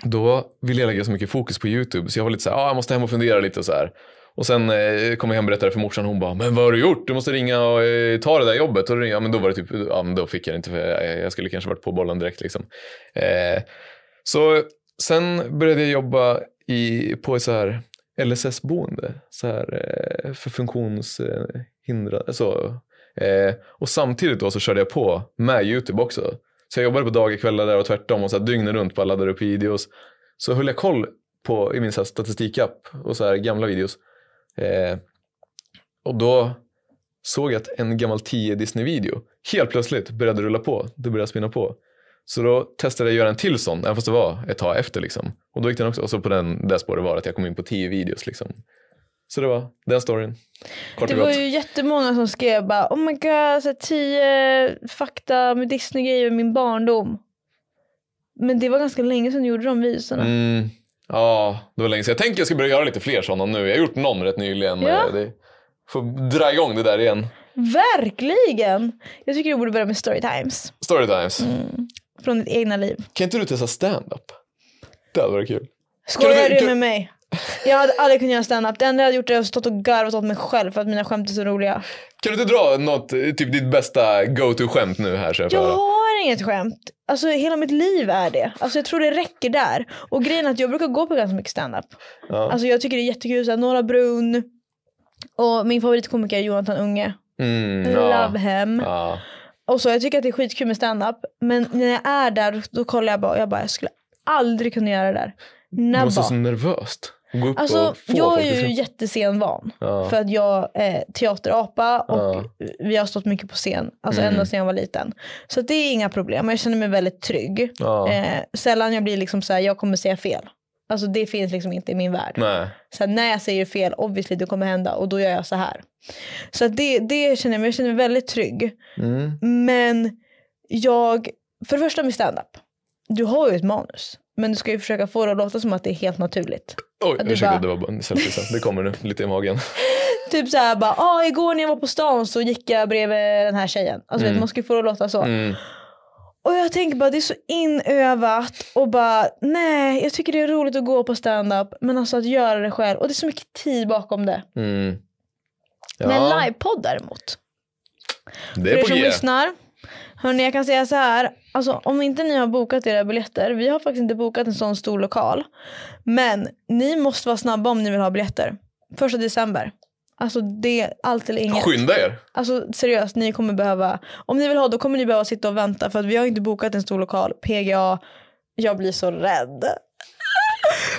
då ville jag lägga så mycket fokus på YouTube så jag var lite så här, ah, jag måste hem och fundera lite och så här. Och sen eh, kom jag hem och berättade för morsan hon bara, men vad har du gjort? Du måste ringa och eh, ta det där jobbet. Och då ringde jag, men då var det typ, ja men då fick jag det inte för jag, jag skulle kanske varit på bollen direkt liksom. Eh, så sen började jag jobba i, på ett så här LSS-boende så här, eh, för eh, funktionshindrade. Så. Eh, Och samtidigt då så körde jag på med YouTube också. Så jag jobbade på dagar, kvällar där och tvärtom och så här dygnet runt bara laddade upp videos. Så höll jag koll på, i min så här statistikapp och så här gamla videos. Eh, och då såg jag att en gammal 10 Disney-video helt plötsligt började rulla på. Det började spinna på. Så då testade jag att göra en till sån, även fast det var ett tag efter. Liksom. Och då gick den också, och så på den där spåret var det att jag kom in på 10 videos. Liksom. Så det var den storyn. Kort Det och var gott. ju jättemånga som skrev bara oh my god, så här, tio eh, fakta med Disney-grejer i min barndom. Men det var ganska länge sedan du gjorde de videorna. Mm, ja, det var länge sedan. Jag tänker jag ska börja göra lite fler sådana nu. Jag har gjort någon rätt nyligen. Ja. Eh, Det, får dra igång det där igen. Verkligen! Jag tycker du borde börja med storytimes. Storytimes. Mm. Från ditt egna liv. Kan inte du testa stand-up? Det hade varit kul. Skojar Kan du- du med mig? Jag hade aldrig kunnat göra stand-up. Det enda jag hade gjort är att stått och garvat åt mig själv för att mina skämt är så roliga. Kan du inte dra något, eh, typ ditt bästa go-to-skämt nu här? Så jag får Jag höra? har inget skämt. Alltså hela mitt liv är det. Alltså jag tror det räcker där. Och grejen är att jag brukar gå på ganska mycket stand-up. Ja. Alltså jag tycker det är jättekul. Så här, Norra Brunn. Och min favoritkomiker är Jonathan Unge. Mm, ja. Love him. Ja. Och så, jag tycker att det är skitkul med stand-up. Men när jag är där då kollar jag bara och jag bara jag skulle aldrig kunna göra det där. Det Never. måste vara så nervöst. Gå upp Alltså, och få jag folk är att ju skratta. jättesenvan. Ja. För att jag är teaterapa och Ja. vi har stått mycket på scen. Alltså Mm. ända sedan jag var liten. Så att det är inga problem. Jag känner mig väldigt trygg. Ja. Eh, sällan jag blir liksom så här, jag kommer säga fel. Alltså det finns liksom inte i min värld. Nej. Så här, när jag säger fel, obviously det kommer hända och då gör jag så här. Så att det, det känner jag, mig- jag känner mig väldigt trygg. Mm. Men jag, för det första med standup. Du har ju ett manus. Men du ska ju försöka få det att låta som att det är helt naturligt. Oj, du ursäkta, bara- det var bara en selfie. Det kommer nu, lite i magen. Typ så här bara, ah, igår när jag var på stan så gick jag bredvid den här tjejen. Alltså vet, Mm. man ska ju få det att låta så. Mm. Och jag tänker bara, det är så inövat och bara, nej, jag tycker det är roligt att gå på stand-up men alltså att göra det själv och det är så mycket tid bakom det. Mm. Ja, Men en livepodd däremot, det för är er på som G. lyssnar Hörni, jag kan säga så här. Alltså, om inte ni har bokat era biljetter. Vi har faktiskt inte bokat en sån stor lokal. Men ni måste vara snabba om ni vill ha biljetter. Första december. Alltså det är allt eller inget. Skynda er. Alltså seriöst, ni kommer behöva. Om ni vill ha då kommer ni behöva sitta och vänta. För att vi har inte bokat en stor lokal. PGA. Jag blir så rädd. [LAUGHS]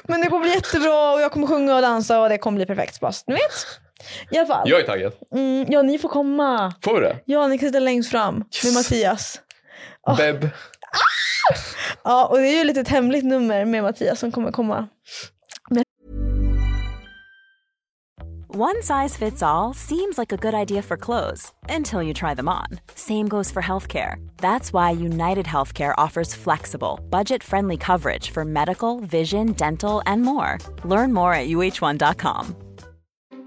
Men det kommer bli jättebra och jag kommer sjunga och dansa och det kommer bli perfekt. Bara, så ni vet. I alla fall. Jag är taggad. Mm, ja, ni får komma. Får vi det? Ja, ni kan sitta längst fram med Yes. Mattias. Ah. Beb. Ja, och det är ju ett litet hemligt nummer med Mattias som kommer komma. One size fits all seems like a good idea for clothes until you try them on. Same goes for healthcare. That's why United Healthcare offers flexible, budget friendly coverage for medical, vision, dental, and more. Learn more at uh1.com.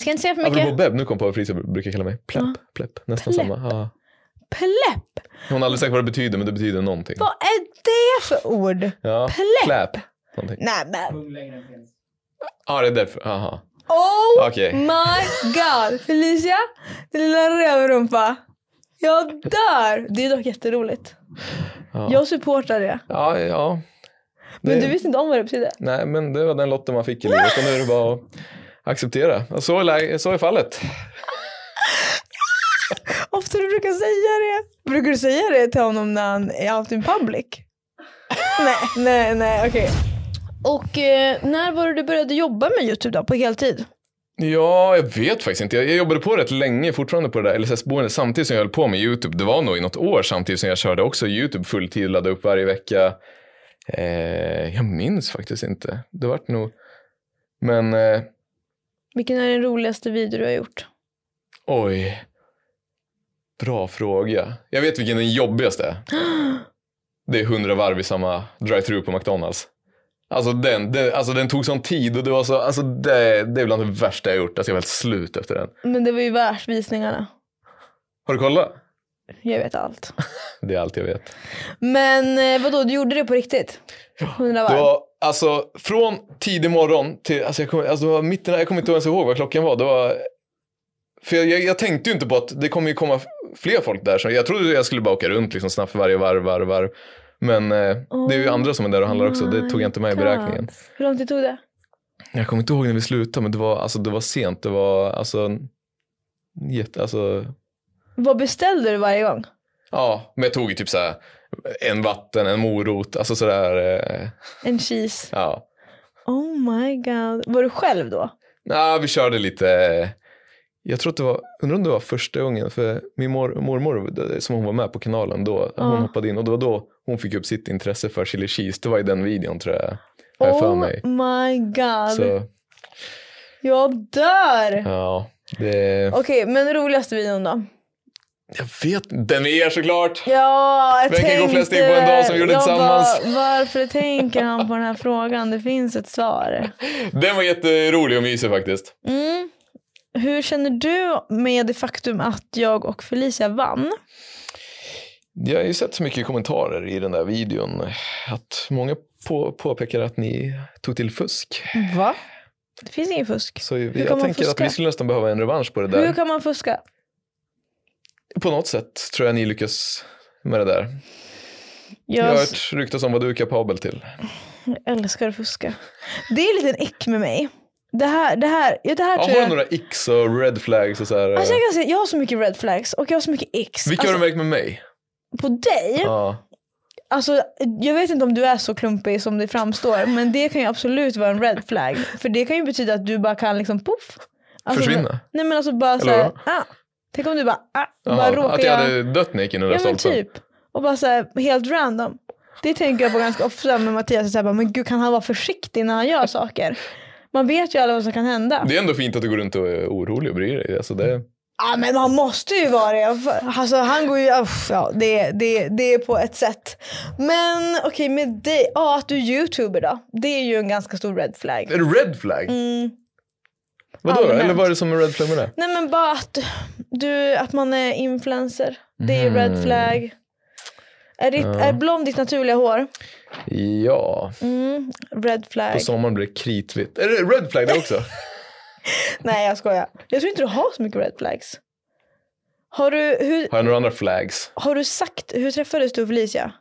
Ska inte säga för Apropå mycket. Beb, nu kom på vad Felicia brukar kalla mig. Plepp, plepp. Nästan Plepp. samma. Ja. Plepp. Hon har aldrig sagt vad det betyder, men det betyder någonting. Vad är det för ord? Ja. Plepp. Plepp. Någonting. Nej men. Ja, ah, det är därför. Aha. Oh Okej. my god. Felicia, din lilla rövrumpa. Jag dör. Det är dock jätteroligt. Ja. Jag supportar det. Ja, ja. Men Det- du visste inte om vad det betydde. Nej, men det var den lotten man fick i livet och nu är det bara att acceptera. Och Så är, lä- så är fallet. Ofta du brukar säga det. Brukar du säga det till honom när han är out in public? nej, nej, nej, okej. Och eh, när var det du började jobba med YouTube då, på heltid? Ja, jag vet faktiskt inte. Jag, jag jobbade på rätt länge fortfarande på det där LSS-boendet samtidigt som jag höll på med YouTube. Det var nog i något år samtidigt som jag körde också YouTube fulltid, laddade upp varje vecka. Eh, jag minns faktiskt inte. Det vart nog... Men eh, Vilken är den roligaste video du har gjort? oj. Bra fråga. Jag vet vilken den jobbigaste är. Det är hundra varv i samma drive-through på McDonalds. Alltså den, den, alltså den tog sån tid och det var så, alltså det, det är bland det värsta jag gjort. Alltså jag var helt slut efter den. Men det var ju värt visningarna. Har du kollat? Jag vet allt. Det är allt jag vet. Men eh, vadå, du gjorde det på riktigt? 100 Det varv? var alltså från tidig morgon till, alltså jag kommer alltså, det var mitten, jag kommer inte ens ihåg vad klockan var. Det var för jag, jag, jag tänkte ju inte på att det kommer ju komma fler folk där. Så jag trodde jag skulle bara åka runt liksom snabbt varje varv, varv, varv. Men eh, det är ju Oh andra som är där och handlar också. Det my tog jag inte med i God. beräkningen. Hur lång tid tog det? Jag kommer inte ihåg när vi slutade, men det var, alltså, det var sent. Det var alltså, jätte, alltså Vad beställde du varje gång? ja, men jag tog ju typ så här en vatten, en morot, alltså sådär, eh, En cheese? ja. Oh my god. Var du själv då? Nej, vi körde lite. eh, Jag tror att det var, undrar om det var första gången, för min mor, mormor som hon var med på kanalen då, Ja. hon hoppade in och det var då hon fick upp sitt intresse för chili cheese. Det var i den videon tror jag, har jag för Oh mig. my god. Så Jag dör! ja, det, Okej, men roligaste videon då? jag vet Den är er såklart. Ja, jag Vem kan gå tänkte... flest in på en dag som vi gjorde jag tillsammans? Bara, varför tänker han på den här frågan? Det finns ett svar. Den var jätterolig och mysig faktiskt. Mm. Hur känner du med det faktum att jag och Felicia vann? Jag har ju sett så mycket kommentarer i den där videon att många på, påpekar att ni tog till fusk. Va? Det finns ingen fusk. Så kan jag man tänker att fuska? vi skulle nästan behöva en revansch på det där. Hur kan man fuska? på något sätt tror jag ni lyckas med det där. Jag har Jag hört ryktas om vad du är kapabel till. älskar att fuska. Det är lite en ick med mig. Det här, det här, ja, det här Ja, tror har du jag... några x och red flags och så här? Alltså eh, jag kan säga, jag har så mycket red flags och jag har så mycket x. Vilka har alltså, du märkt med mig? På dig? Ja. Alltså, jag vet inte om du är så klumpig som det framstår, men det kan ju absolut vara en red flag. För det kan ju betyda att du bara kan liksom poff. Alltså, Försvinna? Nej men alltså bara Eller såhär, vadå? ah. tänk om du bara, ah, bara Jaha, råkar att jag hade dött när jag gick in i den ja där men stolpen? typ. Och bara såhär helt random. Det tänker jag på ganska ofta med Mattias, såhär, bara, men gud kan han vara försiktig när han gör saker? Man vet ju alla vad som kan hända. Det är ändå fint att du går runt och är orolig och bryr dig. Alltså det, Ja men man måste ju vara det. Alltså han går ju, uff, ja det, det, det är på ett sätt. Men okej med dig, ja att du är youtuber då. Det är ju en ganska stor red flag. En red flag? Vadå då? Mm. Allmänt. Eller vad är det som är red flag med det? Nej men bara att, du, att man är influencer. Det är Mm. red flag. Är, ditt, är blond ditt naturliga hår? Ja, Red flag. på sommaren blir det kritvitt. Är det red flag [LAUGHS] det också? Nej jag skojar. Jag tror inte du har så mycket red flags. Har du, hur, Har jag några andra flags har du sagt, hur träffades du och Felicia?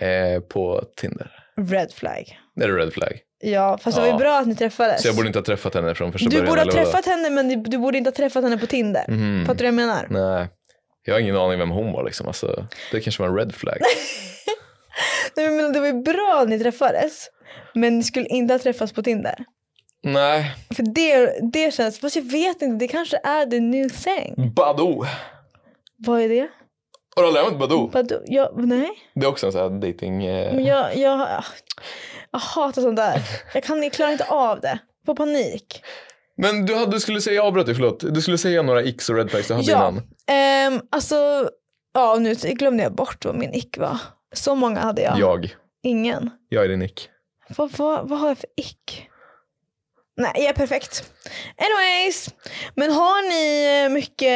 eh, på Tinder? Red flag. Det är det red flag. Ja fast det var Ja. ju bra att ni träffades. Så jag borde inte ha träffat henne från första Alltså- Du början? borde ha eller vadå? träffat henne men du- du borde inte ha träffat henne på Tinder. Fattar du vad jag menar? Nej, jag har ingen aning vem hon var liksom. Alltså, det kanske var en red flag. [LAUGHS] Nej, men jag menar, det var ju bra att ni träffades. Men ni skulle inte ha träffats på Tinder. Nej, För det, det känns, fast jag vet inte, det kanske är the new thing. Badoo. Vad är det? Har du aldrig använt Badoo? Vadå? Jag, nej, Det är också en sån här dating... Eh... men jag, jag, jag hatar sånt där. Jag, kan, jag klarar inte av det. Får panik. Men du, hade, du skulle säga, jag avbröt dig, förlåt. Du skulle säga några x och red flags du hade Ja, innan. ehm, alltså, ja nu glömde jag bort vad min ick var. Så många hade jag. Jag. Ingen. Jag är din nick. Vad, vad, vad har jag för ick? Nej, jag är perfekt. Anyways, men har ni eh, mycket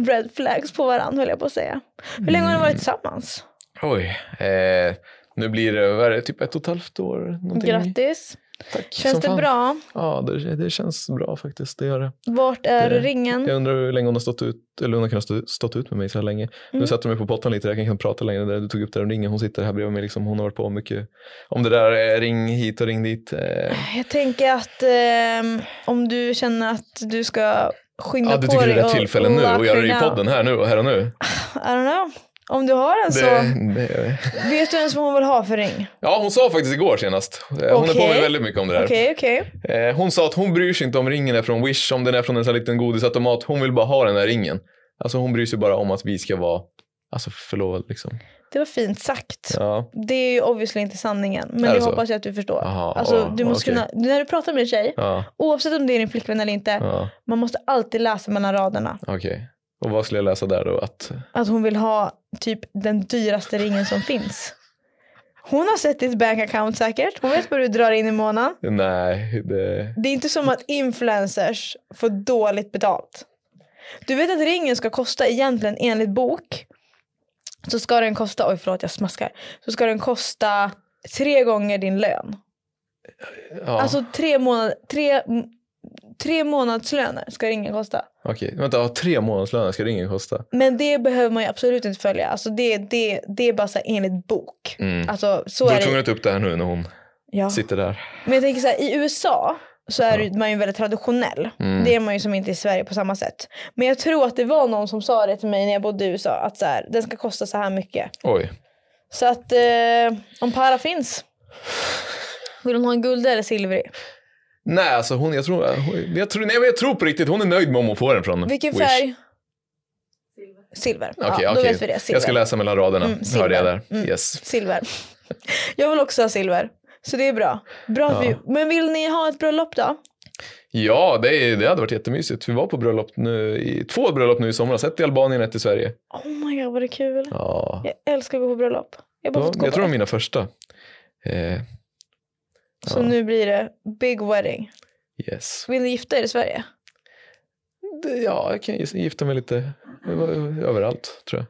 [LAUGHS] red flags på varandra höll jag på att säga. Hur länge har ni varit Mm. tillsammans? Oj. Eh, nu blir det, vad är det, typ ett och ett halvt år? Någonting. Grattis. Tack som Känns det fan. bra? Ja, det, det känns bra faktiskt. Det gör det. Vart är Det- ringen? Jag undrar hur länge hon har stått ut, eller hon har kunnat stå, stått ut med mig så här länge. Mm. Nu sätter du mig på pottan lite, jag kan inte prata längre. Där Du tog upp det här om ringen, hon sitter här bredvid mig. Liksom, hon har varit på mycket om det där eh, ring hit och ring dit. Eh, Jag tänker att ehm, om du känner att du ska skynda ja, på du tycker dig det är rätt tillfälle nu och göra det i lock her podden down. här nu och här och nu. I don't know. Om du har en så, Det, det, vet du ens vad hon vill ha för ring? ja, hon sa faktiskt igår senast. Eh, Hon är på Okej. mig väldigt mycket om det där. Okej, okej. Eh, Hon sa att hon bryr sig inte om ringen är från Wish, om den är från en sån här liten godisautomat. Hon vill bara ha den där ringen. Alltså hon bryr sig bara om att vi ska vara Alltså förlovad liksom. Det var fint sagt. Ja. Det är ju obviously inte sanningen. Men Är det det så? hoppas jag att du förstår. Aha, alltså, åh, du måste okej. kunna, när du pratar med en tjej, Ja, oavsett om det är din flickvän eller inte, ja, man måste alltid läsa mellan raderna. okej. Och vad skulle jag läsa där då? Att, Att hon vill ha typ den dyraste ringen som finns. Hon har sett ditt bankaccount säkert. Hon vet vad du drar in i månaden. nej, det... Det är inte som att influencers får dåligt betalt. Du vet att ringen ska kosta egentligen enligt bok. Så ska den kosta, oj förlåt jag smaskar. Så ska den kosta tre gånger din lön. Ja, Alltså tre, månad, tre, m- tre månadslöner ska ringen kosta. okej. Vänta, ja, tre månadslöner ska ringen kosta. Men det behöver man ju absolut inte följa. Alltså det, det, det är bara så här enligt bok. Mm. Alltså så Du är är tvungen det. att ta upp det här nu när hon Ja. sitter där. Men jag tänker så här, i USA så är ju- man ju väldigt traditionell. Mm. Det är man ju som inte i Sverige på samma sätt. Men jag tror att det var någon som sa det till mig när jag bodde i USA. Att så här, den ska kosta så här mycket. Oj. Så att eh, om para finns. Vill hon ha en guld eller silvrig? Nej, alltså hon, jag tror, hon- jag tror, nej men jag tror på riktigt, hon är nöjd med om hon får den från Vilken Wish. färg? Silver. Okej, ja, då okej. vet vi det. Silver. Jag ska läsa mellan raderna, Mm, hörde jag silver. där. Mm. Yes. Silver. Jag vill också ha silver. Så det är bra. bra att Ja. vi... Men vill ni ha ett bröllop då? Ja, det, är- det hade varit jättemysigt. Vi var på bröllop nu, i, två bröllop nu i somras. Ett i Albanien, ett i Sverige. Oh my god vad det är kul. Ja, Jag älskar att gå på bröllop. Jag, har bara då, fått gå jag på tror de ett. var mina första. Eh, Så nu blir det big wedding. yes. Vill ni gifta er i Sverige? Det- Ja, jag kan gissa- gifta mig lite eh, överallt, tror jag.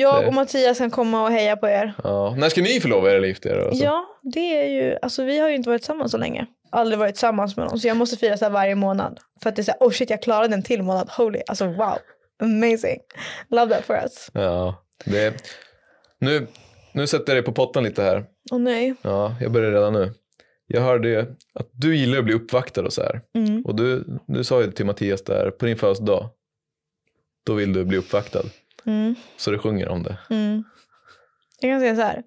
Jag Det- och Mattias kan komma och heja på er. Ja. När ska ni förlova er eller gifta er? Alltså? Ja, det är ju, alltså vi har ju inte varit tillsammans så länge. Aldrig varit tillsammans med någon. Så jag måste fira så här varje månad. För att det är så här, oh shit jag klarade en till månad. Holy, alltså wow. Amazing. Love that for us. Ja, det, nu, nu sätter jag dig på pottan lite här. Åh nej. Ja, jag börjar redan nu. Jag hörde ju att du gillar att bli uppvaktad och så här. Mm. Och du, du sa ju till Mattias där, på din födelsedag, då vill du bli uppvaktad. Mm. Så du sjunger om det. Mm. Jag kan säga så här.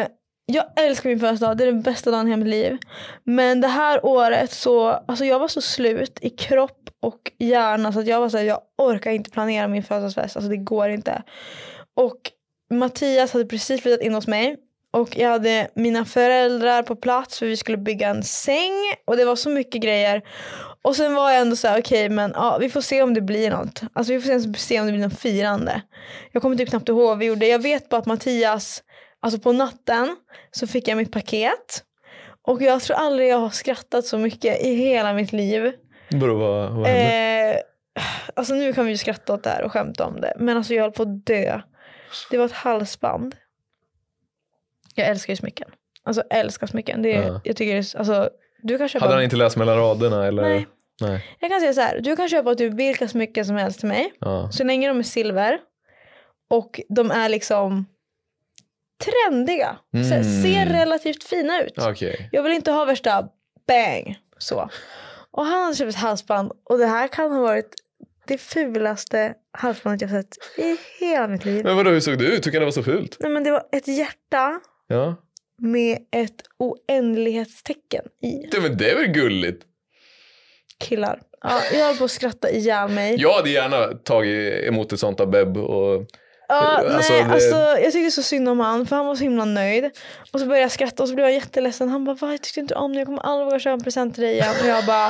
Eh, jag älskar min födelsedag, det är den bästa dagen i hela mitt liv. Men det här året så, alltså jag var så slut i kropp och hjärna så att jag var så här, jag orkar inte planera min födelsedagsfest, alltså det går inte. Och Mattias hade precis flyttat in hos mig Och jag hade mina föräldrar på plats för vi skulle bygga en säng och det var så mycket grejer. Och sen var jag ändå så här, okej men ja, vi får se om det blir något. Alltså vi får se, se om det blir något firande. Jag kommer typ knappt ihåg vad vi gjorde. Jag vet bara att Mattias, alltså på natten så fick jag mitt paket. Och jag tror aldrig jag har skrattat så mycket i hela mitt liv. Vadå, vad, vad hände? Eh, alltså nu kan vi ju skratta åt det här och skämta om det. Men alltså jag höll på att dö. Det var ett halsband. Jag älskar ju smycken. Alltså älskar smycken. Det är, Ja. Jag tycker det är, alltså, du kan köpa. Hade han inte läst mellan raderna eller? Nej. Nej. Jag kan säga så här. Du kan köpa typ vilka smycken som helst till mig. Ja. Så länge de är silver. Och de är liksom trendiga. Så här, ser relativt fina ut. Okej. Jag vill inte ha värsta bang. Så. Och han hade köpt ett halsband och det här kan ha varit det fulaste halsbandet jag sett i hela mitt liv. Men vadå, hur såg det ut? Hur kan det vara så fult? Nej, men det var ett hjärta Ja. med ett oändlighetstecken i. Det, men det är väl gulligt? Killar. Ja, jag höll på att skratta ihjäl mig. Jag hade gärna tagit emot ett sånt av Beb och Ja, Alltså, nej, det- alltså, jag tyckte så synd om han för han var så himla nöjd. Och så började jag skratta och så blev jag jätteledsen. Han bara, "Va, jag tyckte inte om det, jag kommer aldrig våga köpa en present till dig igen. Och jag bara,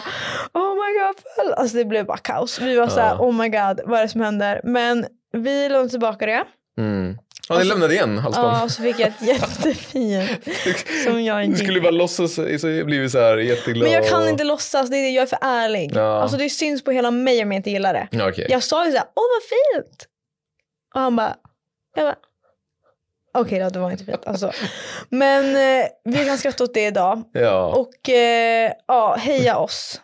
oh my god. Phil." Alltså det blev bara kaos. Vi var så här, Ja. oh my god, vad är det som händer? Men vi lånade tillbaka det. Mm. Ja, ni lämnade igen Alltså- Ja, [LAUGHS] halsbandet. och så fick jag ett jättefint som jag Du inte skulle bara låtsas, så blir vi så här jätteglada. Men jag kan och- inte låtsas, det är det, jag är för ärlig. Ja. Alltså det syns på hela mig om jag inte gillar det. Ja, okej. Jag sa ju såhär, åh vad fint. Och han bara, jag bara, okej då det var inte fint alltså. Men eh, vi kan skratta åt det idag. Ja. Och eh, ja, heja oss.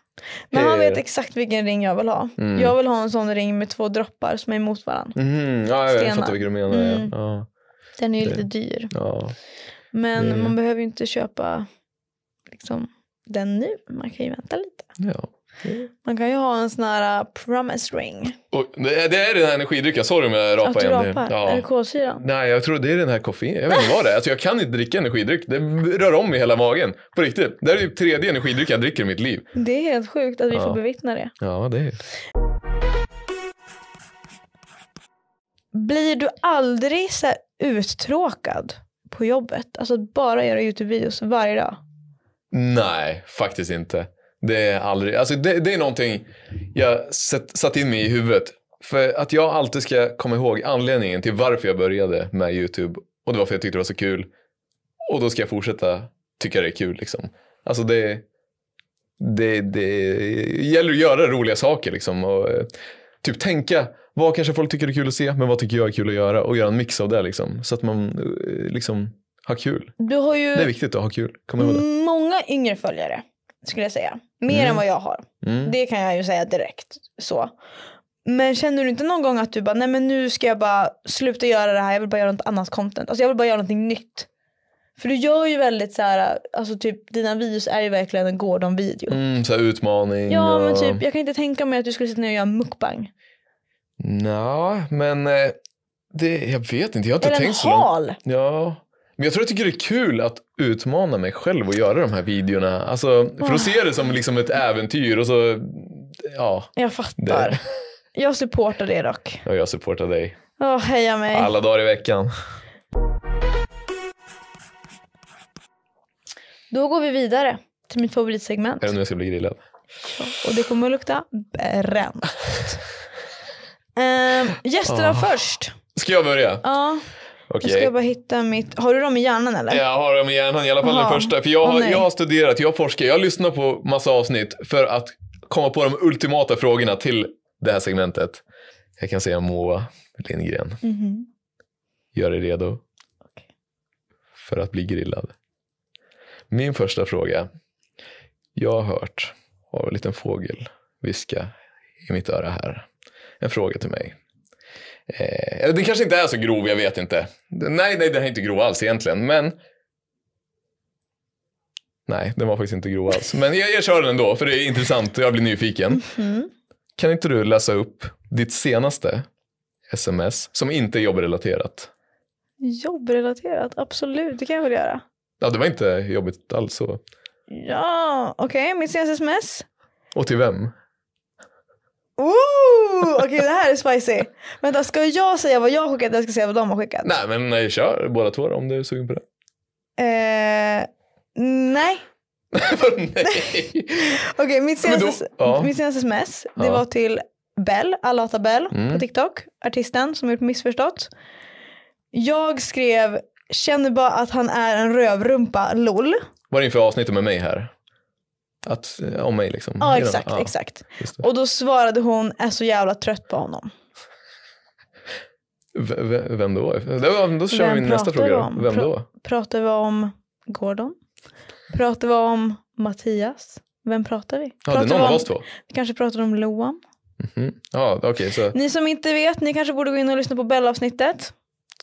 Men han Heja er. vet exakt vilken ring jag vill ha. Mm. Jag vill ha en sån ring med två droppar som är emot varandra. Mhm, ja, jag, Stenar. jag fattar vilka du menar. ja. Mm. Ja. Den är ju Det- lite dyr. Ja. Men Mm. man behöver ju inte köpa liksom, den nu. Man kan ju vänta lite. Ja. Man kan ju ha en sån här uh, promise ring. Och det, är- det är den här energidrycken, sorry om jag Att rapar du igen. rapar. Är det Ja. kolsyran? Nej, jag tror det är den här koffein. Jag vet inte vad det är. Alltså, jag kan inte dricka energidryck. Det rör om i hela magen. På riktigt. Det här är typ tredje energidryck jag dricker i mitt liv. Det är helt sjukt att vi Ja. får bevittna det. Ja, det är Blir du aldrig så här uttråkad på jobbet? Alltså att bara göra Youtube-videos varje dag? Nej, faktiskt inte. Det är aldrig. Alltså det, det är någonting jag sett, satt in mig i huvudet. För att jag alltid ska komma ihåg anledningen till varför jag började med YouTube. Och det var för jag tyckte det var så kul. Och då ska jag fortsätta tycka det är kul liksom. Alltså det, det, det gäller att göra roliga saker liksom. Och, eh, typ tänka, vad kanske folk tycker är kul att se, men vad tycker jag är kul att göra? Och göra en mix av det liksom. Så att man eh, liksom har kul. Du har ju Det är viktigt att ha kul, kom ihåg det. många yngre följare skulle jag säga. Mer Mm. än vad jag har. Mm. Det kan jag ju säga direkt. så. Men känner du inte någon gång att du bara, nej men nu ska jag bara sluta göra det här, jag vill bara göra något annat content. Alltså jag vill bara göra någonting nytt. För du gör ju väldigt så här, alltså typ dina videos är ju verkligen en Gordon-video. Mm, så här utmaning. Ja men och- typ, jag kan inte tänka mig att du skulle sitta ner och göra mukbang. Nja, men eh, det, jag vet inte. Jag har inte Eller en tänkt så långt. hal. Ja. Men jag tror jag tycker det är kul att utmana mig själv och göra de här videorna. Alltså, Ah. för att se det som liksom ett äventyr och så, ja. Jag Det, fattar. Jag supportar det dock. och jag supportar dig Åh, heja mig. alla dagar i veckan. Då går vi vidare till mitt favoritsegment. Är det nu jag ska bli grillad? Och det kommer att lukta [LAUGHS] bränt. Ehm, gästerna först. Ska jag börja? Ja, jag Ah. Okej. ska bara hitta mitt... Har du dem i hjärnan eller? Jag har dem i hjärnan, i alla fall Aha. den första. För jag Åh, har, nej. jag har studerat, jag forskar, jag lyssnar på massa avsnitt för att komma på de ultimata frågorna till det här segmentet. Jag kan säga Moa Lindgren. Mhm. Gör dig redo för att bli grillad. Min första fråga. Jag har hört av en liten fågel viska i mitt öra här. En fråga till mig. Eh, eller den kanske inte är så grov, jag vet inte. Nej, nej, den är inte grov alls egentligen, men... Nej, den var faktiskt inte grov alls. Men jag, jag kör den ändå, för det är intressant och jag blir nyfiken. Mhm. Kan inte du läsa upp ditt senaste sms som inte är jobbrelaterat? Jobbrelaterat, absolut. Det kan jag väl göra. Ja, det var inte jobbigt alls så. Ja, okej. mitt senaste sms. Och till vem? Ooh, Okej, det här är spicy. Vänta, ska jag säga vad jag har skickat eller ska jag säga vad de har skickat? eh, Nej, men nej, kör båda två då, om du är sugen på det. [LAUGHS] Eh, nej. Nej. Okej, mitt, Men då- senaste- ja. mitt senaste sms det Ja. Mm. var till Bell, Alata Bell på TikTok, artisten som gjort missförstått. Jag skrev känner bara att han är en rövrumpa, LOL. Var det inför avsnittet med mig här? Att, eh, om mig liksom. Ja Är det- exakt, exakt. just det. Och då svarade hon är så jävla trött på honom. V- v- vem då? Det var- Då kör Vem vi nästa pratar fråga. du då. om? Vem Pra- då? Pratar vi om Gordon? Pratar vi om Mattias? Vem pratar vi? Ja, det Pratar är vi någon av om- oss två. Vi kanske pratar om Loam. Ja, okej. [LAUGHS] så. Ni som inte vet, ni kanske borde gå in och lyssna på Bell-avsnittet.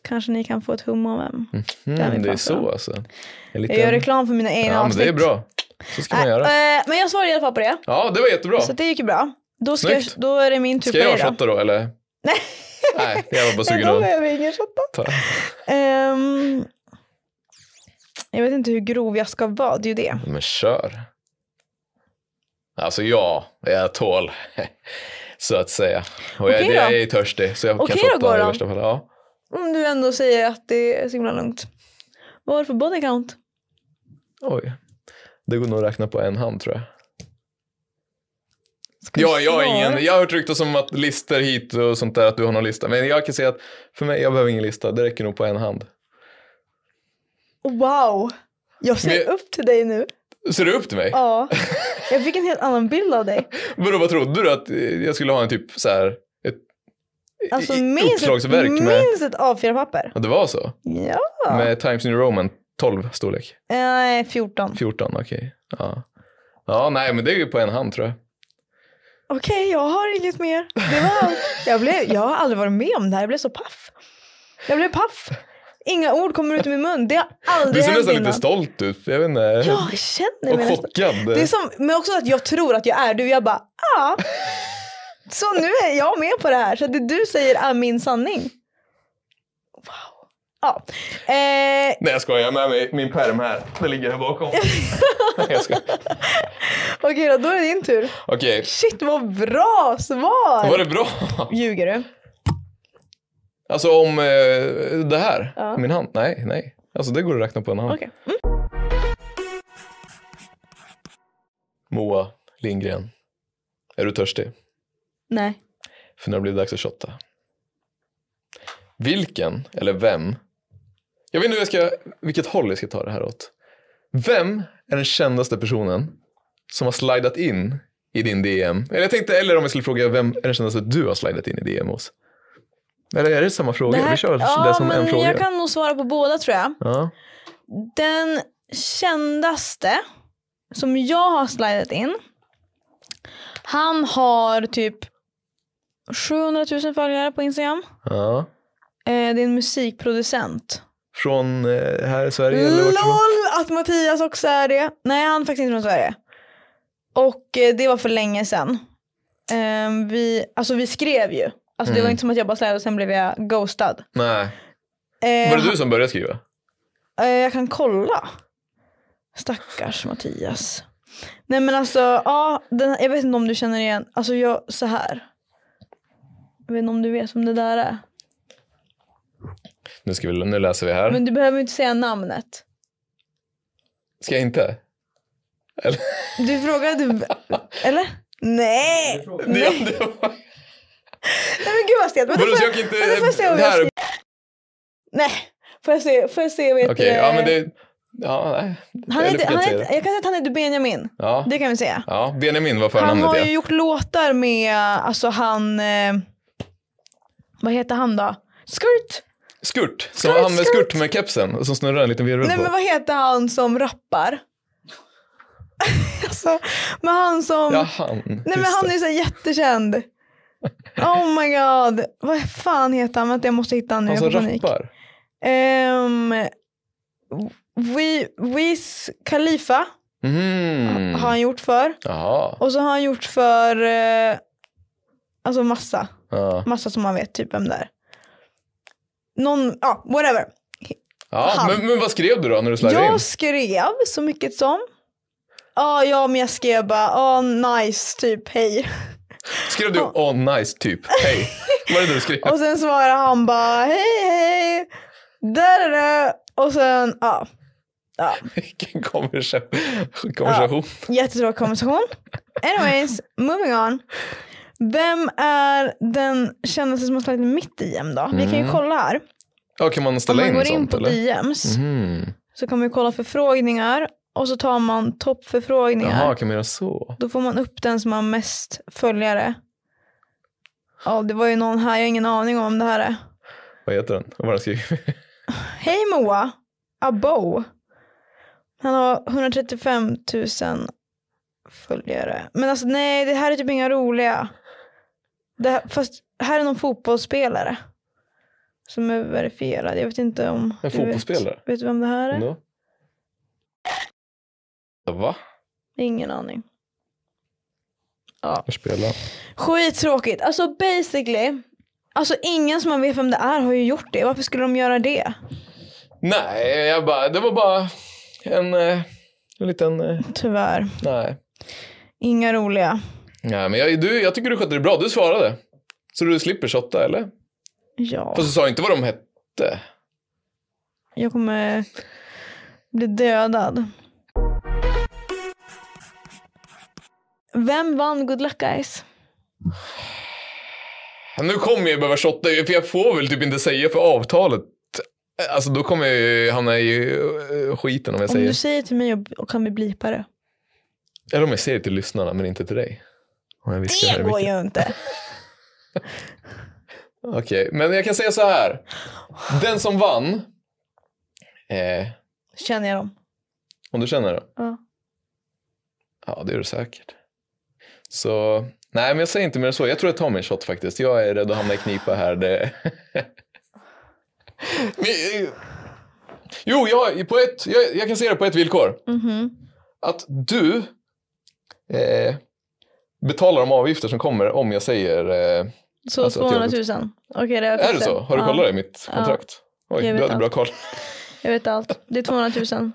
Kanske ni kan få ett hum om vem. vi Mm, det pratar är så om. alltså. En liten- Jag gör reklam för mina egna Ja, men avsnitt. det är bra. Så ska man Nej, göra. eh, men jag svarade i alla fall på det. Ja, det var jättebra. Så det gick ju bra. Då, ska jag, Snyggt. då är det min tur Ska på jag dig då. shotta då eller? Nej. Nej, jag var [LAUGHS] bara Nej, sugen då att... behöver jag ingen shotta. ta- Ehm, jag vet inte hur grov jag ska vara, det är ju det. Men kör. Alltså ja, jag tål. [LAUGHS] Så att säga. Och jag, Okej jag då. är törstig så jag Okej kan då, shotta i Goran. värsta fall. Ja. Om du ändå säger att det är så himla lugnt. Vad har du för body count? Oj. Det går nog att räkna på en hand tror jag. Ska du Ja, jag, har svara? ingen, jag har hört ryktas om att listor hit och sånt där, att du har någon lista. Men jag kan säga att för mig, jag behöver ingen lista. Det räcker nog på en hand. Wow! Jag ser Men- upp till dig nu. Ser du upp till mig? [LAUGHS] Ja. Jag fick en helt annan bild av dig. Vadå, vad trodde du att eh, jag skulle ha en typ så här, ett Alltså i- minst ett, uppslagsverk med... minst ett A4-papper. Ja, det var så? Ja. Med Times New Roman 12 storlek? Nej, 14. 14, okej. Ja. ja, nej men det är ju på en hand tror jag. Okej, jag har inget mer. Det var allt. Jag, blev, jag har aldrig varit med om det här. Jag blev så paff. Jag blev paff. Inga ord kommer ut ur min mun. Det har Du aldrig ser hänt nästan innan. lite stolt ut. Jag vet inte. Ja, jag känner och mig nästan. chockad. Det är som, men också att jag tror att jag är du. Jag bara, ah. Så nu är jag med på det här. Så det du säger är min sanning. Wow. Ja. Eh, Nej jag skojar, jag har med mig min perm här. Den ligger här bakom. [LAUGHS] jag skojar. Okej då, då är det din tur. Okej, Shit vad bra svar! var det bra? Ljuger du? Alltså om eh, det här, Ja. min hand? Nej, nej. Alltså det går att räkna på en hand. Okej. Mm. Moa Lindgren, är du törstig? Nej. För nu blir det dags att shotta. Vilken, eller vem? Jag vet inte hur jag ska, vilket håll jag ska ta det här åt. Vem är den kändaste personen som har slidat in i din DM? Eller jag tänkte, eller om jag skulle fråga, vem är den kändaste du har slidat in i DM hos? Eller är det samma fråga? Vi kör det ja, som men en fråga. Jag kan nog svara på båda tror jag. Ja. Den kändaste som jag har slidat in. Han har typ 700 000 följare på Instagram. ja. Eh, det är en musikproducent. Från eh, här i Sverige? Eller vart ifrån? LOL att Mattias också är det. Nej han är faktiskt inte från Sverige. Och eh, det var för länge sedan. Ehm, vi, alltså vi skrev ju. Alltså Mm. det var inte som att jag bara släde och sen blev jag ghostad. Nej. Eh, Var det du som började skriva? eh, jag kan kolla. Stackars Mattias. Nej men alltså, ja, den, jag vet inte om du känner igen, alltså jag, så här. Jag vet inte om du vet vem det där är. Nu, ska vi, nu läser vi här. Men du behöver inte säga namnet. Ska jag inte? Eller? Du [LAUGHS] frågade, eller? Nej! Det, det var... Nej men gud vad stelt. Vänta, Vadå, får så jag kan inte... vänta, får jag se om det jag här- skriver- Nej, får jag se, får jag se vad heter Okej, ja men det... Ja, nej. eh, Han Eller heter, fick jag han inte heter, säga det? jag kan säga att han heter Benjamin. Ja. Det kan vi säga. ja, Benjamin var Han förnamnet har ju ja. gjort låtar med, alltså han, eh, vad heter han då? Skurt! Skurt, som han med Skurt. skurt med kepsen och som snurrar en liten virvel Nej på. men vad heter han som rappar? [LAUGHS] alltså, men han som, Ja, han. nej men han är ju så här jättekänd. Oh my god, vad fan heter han? Vänta jag måste hitta han nu, jag Han som får panik. rappar. Um, Wiz Khalifa Mm. har han gjort för. Jaha. Och så har han gjort för eh, alltså massa. Ja. Massa som man vet typ vem det är. Någon, ja whatever. Ja, Han. men, men vad skrev du då när du slidade in? Jag skrev så mycket som. Ja, ja men jag skrev bara, ja nice typ hej. Skrev du åh nice typ, [LAUGHS] hej? Var det det du skrev? Och sen svarade han bara hej hej. Där är det. Och sen ja. Ja. Vilken konversa- konversation. Jättetråkig konversation. [LAUGHS] Anyways, moving on. Vem är den kändaste som har slagit mitt DM då? Vi kan ju kolla här. Ja. kan man Om ställa man Mm. in går in sånt på eller? DMs Mm. så kan man ju kolla förfrågningar och så tar man toppförfrågningar. Jaha, kan man göra så? Då får man upp den som har mest följare. Ja, det var ju någon här, jag har ingen aning om vem det här är. Vad heter den? Vad har den skrivit? Hej Moa! Abo. Han har 135 000 följare. Men alltså nej, det här är typ inga roliga. Det här, fast här är någon fotbollsspelare. Som är verifierad. Jag vet inte om... En du fotbollsspelare? Vet, vet du vem det här är? Ändå? Va? Ingen aning. Jag spelar. Skittråkigt. Alltså basically. Alltså ingen som man vet vem det är har ju gjort det. Varför skulle de göra det? Nej, jag bara, det var bara en, eh, en liten... eh, Tyvärr. Nej. Inga roliga. Nej, men jag, du, jag tycker du skötte det bra. Du svarade. Så du slipper shotta, eller? Ja. Fast du sa inte vad de hette. Jag kommer bli dödad. Vem vann Good Luck Guys? Nu kommer jag behöva shotta, för jag får väl typ inte säga för avtalet. Alltså då kommer jag ju hamna i eh, skiten om jag Om säger. du säger till mig och, och kan vi blipa det. Eller om jag säger till lyssnarna, men inte till dig. Om jag viskar här i Det går micken. ju inte. Okej, men jag kan säga så här. Den som vann, eh, Känner jag dem. om du känner det? Ja. Ja, det gör du säkert. Så, nej men jag säger inte mer än så. Jag tror jag tar min shot faktiskt. Jag är rädd att hamna i knipa här. Det... [LAUGHS] men, eh, jo, jag, på ett, jag, jag kan se det på ett villkor. Mhm. Att du eh, betalar de avgifter som kommer om jag säger eh, Så Alltså, att 200 000. jag- Okej, det har jag Är det fixat. så? Har du ja, kollat det i mitt kontrakt? Oj, Jag vet du hade bra allt. koll. Jag vet allt. Det är 200 [LAUGHS] 000.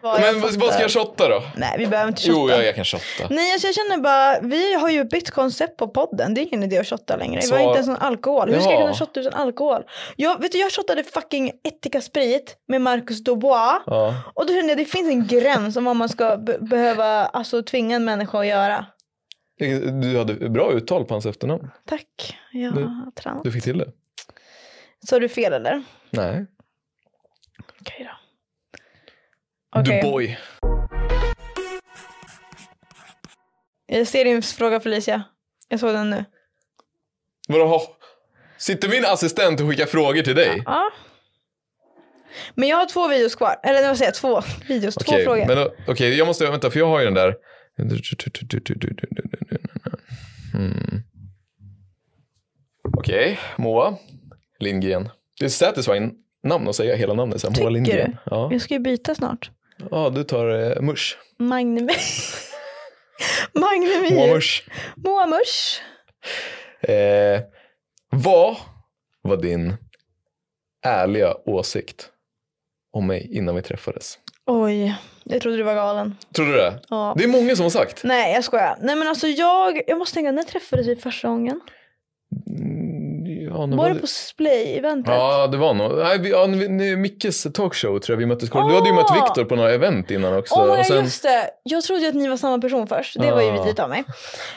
Vad jag Men vad fattar. ska jag shotta då? Nej, vi behöver inte shotta. Jo, jag, jag kan shotta. Nej, alltså jag känner bara, vi har ju bytt koncept på podden. Det är ingen idé att shotta längre. Vi Så- har inte ens någon alkohol. Hur ska jag Ja. kunna shotta utan alkohol? Jag, vet du, jag shottade fucking Etika Sprit med Marcus Dubois. Ja. Och då kände jag, det finns en gräns om vad man ska be- behöva alltså, tvinga en människa att göra. Du hade bra uttal på hans efternamn. Tack, jag Du- har tränat. Du fick till det. Sa du fel eller? Nej. Okej då. Okej. Du boy. Jag ser din fråga Felicia. Jag såg den nu. Vadå? ha- Sitter min assistent och skickar frågor till dig? Ja. Men jag har två videos kvar. Eller vad säger jag? Två videos, två Okej, frågor. men då- Okej, jag måste vänta för jag har ju den där. Mm. Okej, Moa Lindgren. Det är satisfying namn att säga hela namnet. Så här, Moa Tycker Lindgren. du? Ja. Jag ska ju byta snart. ja, du tar eh, Mush. Magnum... [LAUGHS] Magnum Moa virus. Mush. Moa Mush. Eh, vad var din ärliga åsikt om mig innan vi träffades? Oj, jag trodde du var galen. Tror du det? Ja. Det är många som har sagt. Nej, jag skojar. Nej men alltså jag, jag måste tänka, när träffades vi första gången? Ja, Var nu var det på Splay-eventet? Ja, det var nog. Nej, vi, ja, vi- nu- Mickes talkshow tror jag vi möttes. Du hade ju Åh! mött Viktor på några event innan också. Åh oh och sen, Ah! just det, jag trodde ju att ni var samma person först. Det var ju Ah. vidrigt av mig.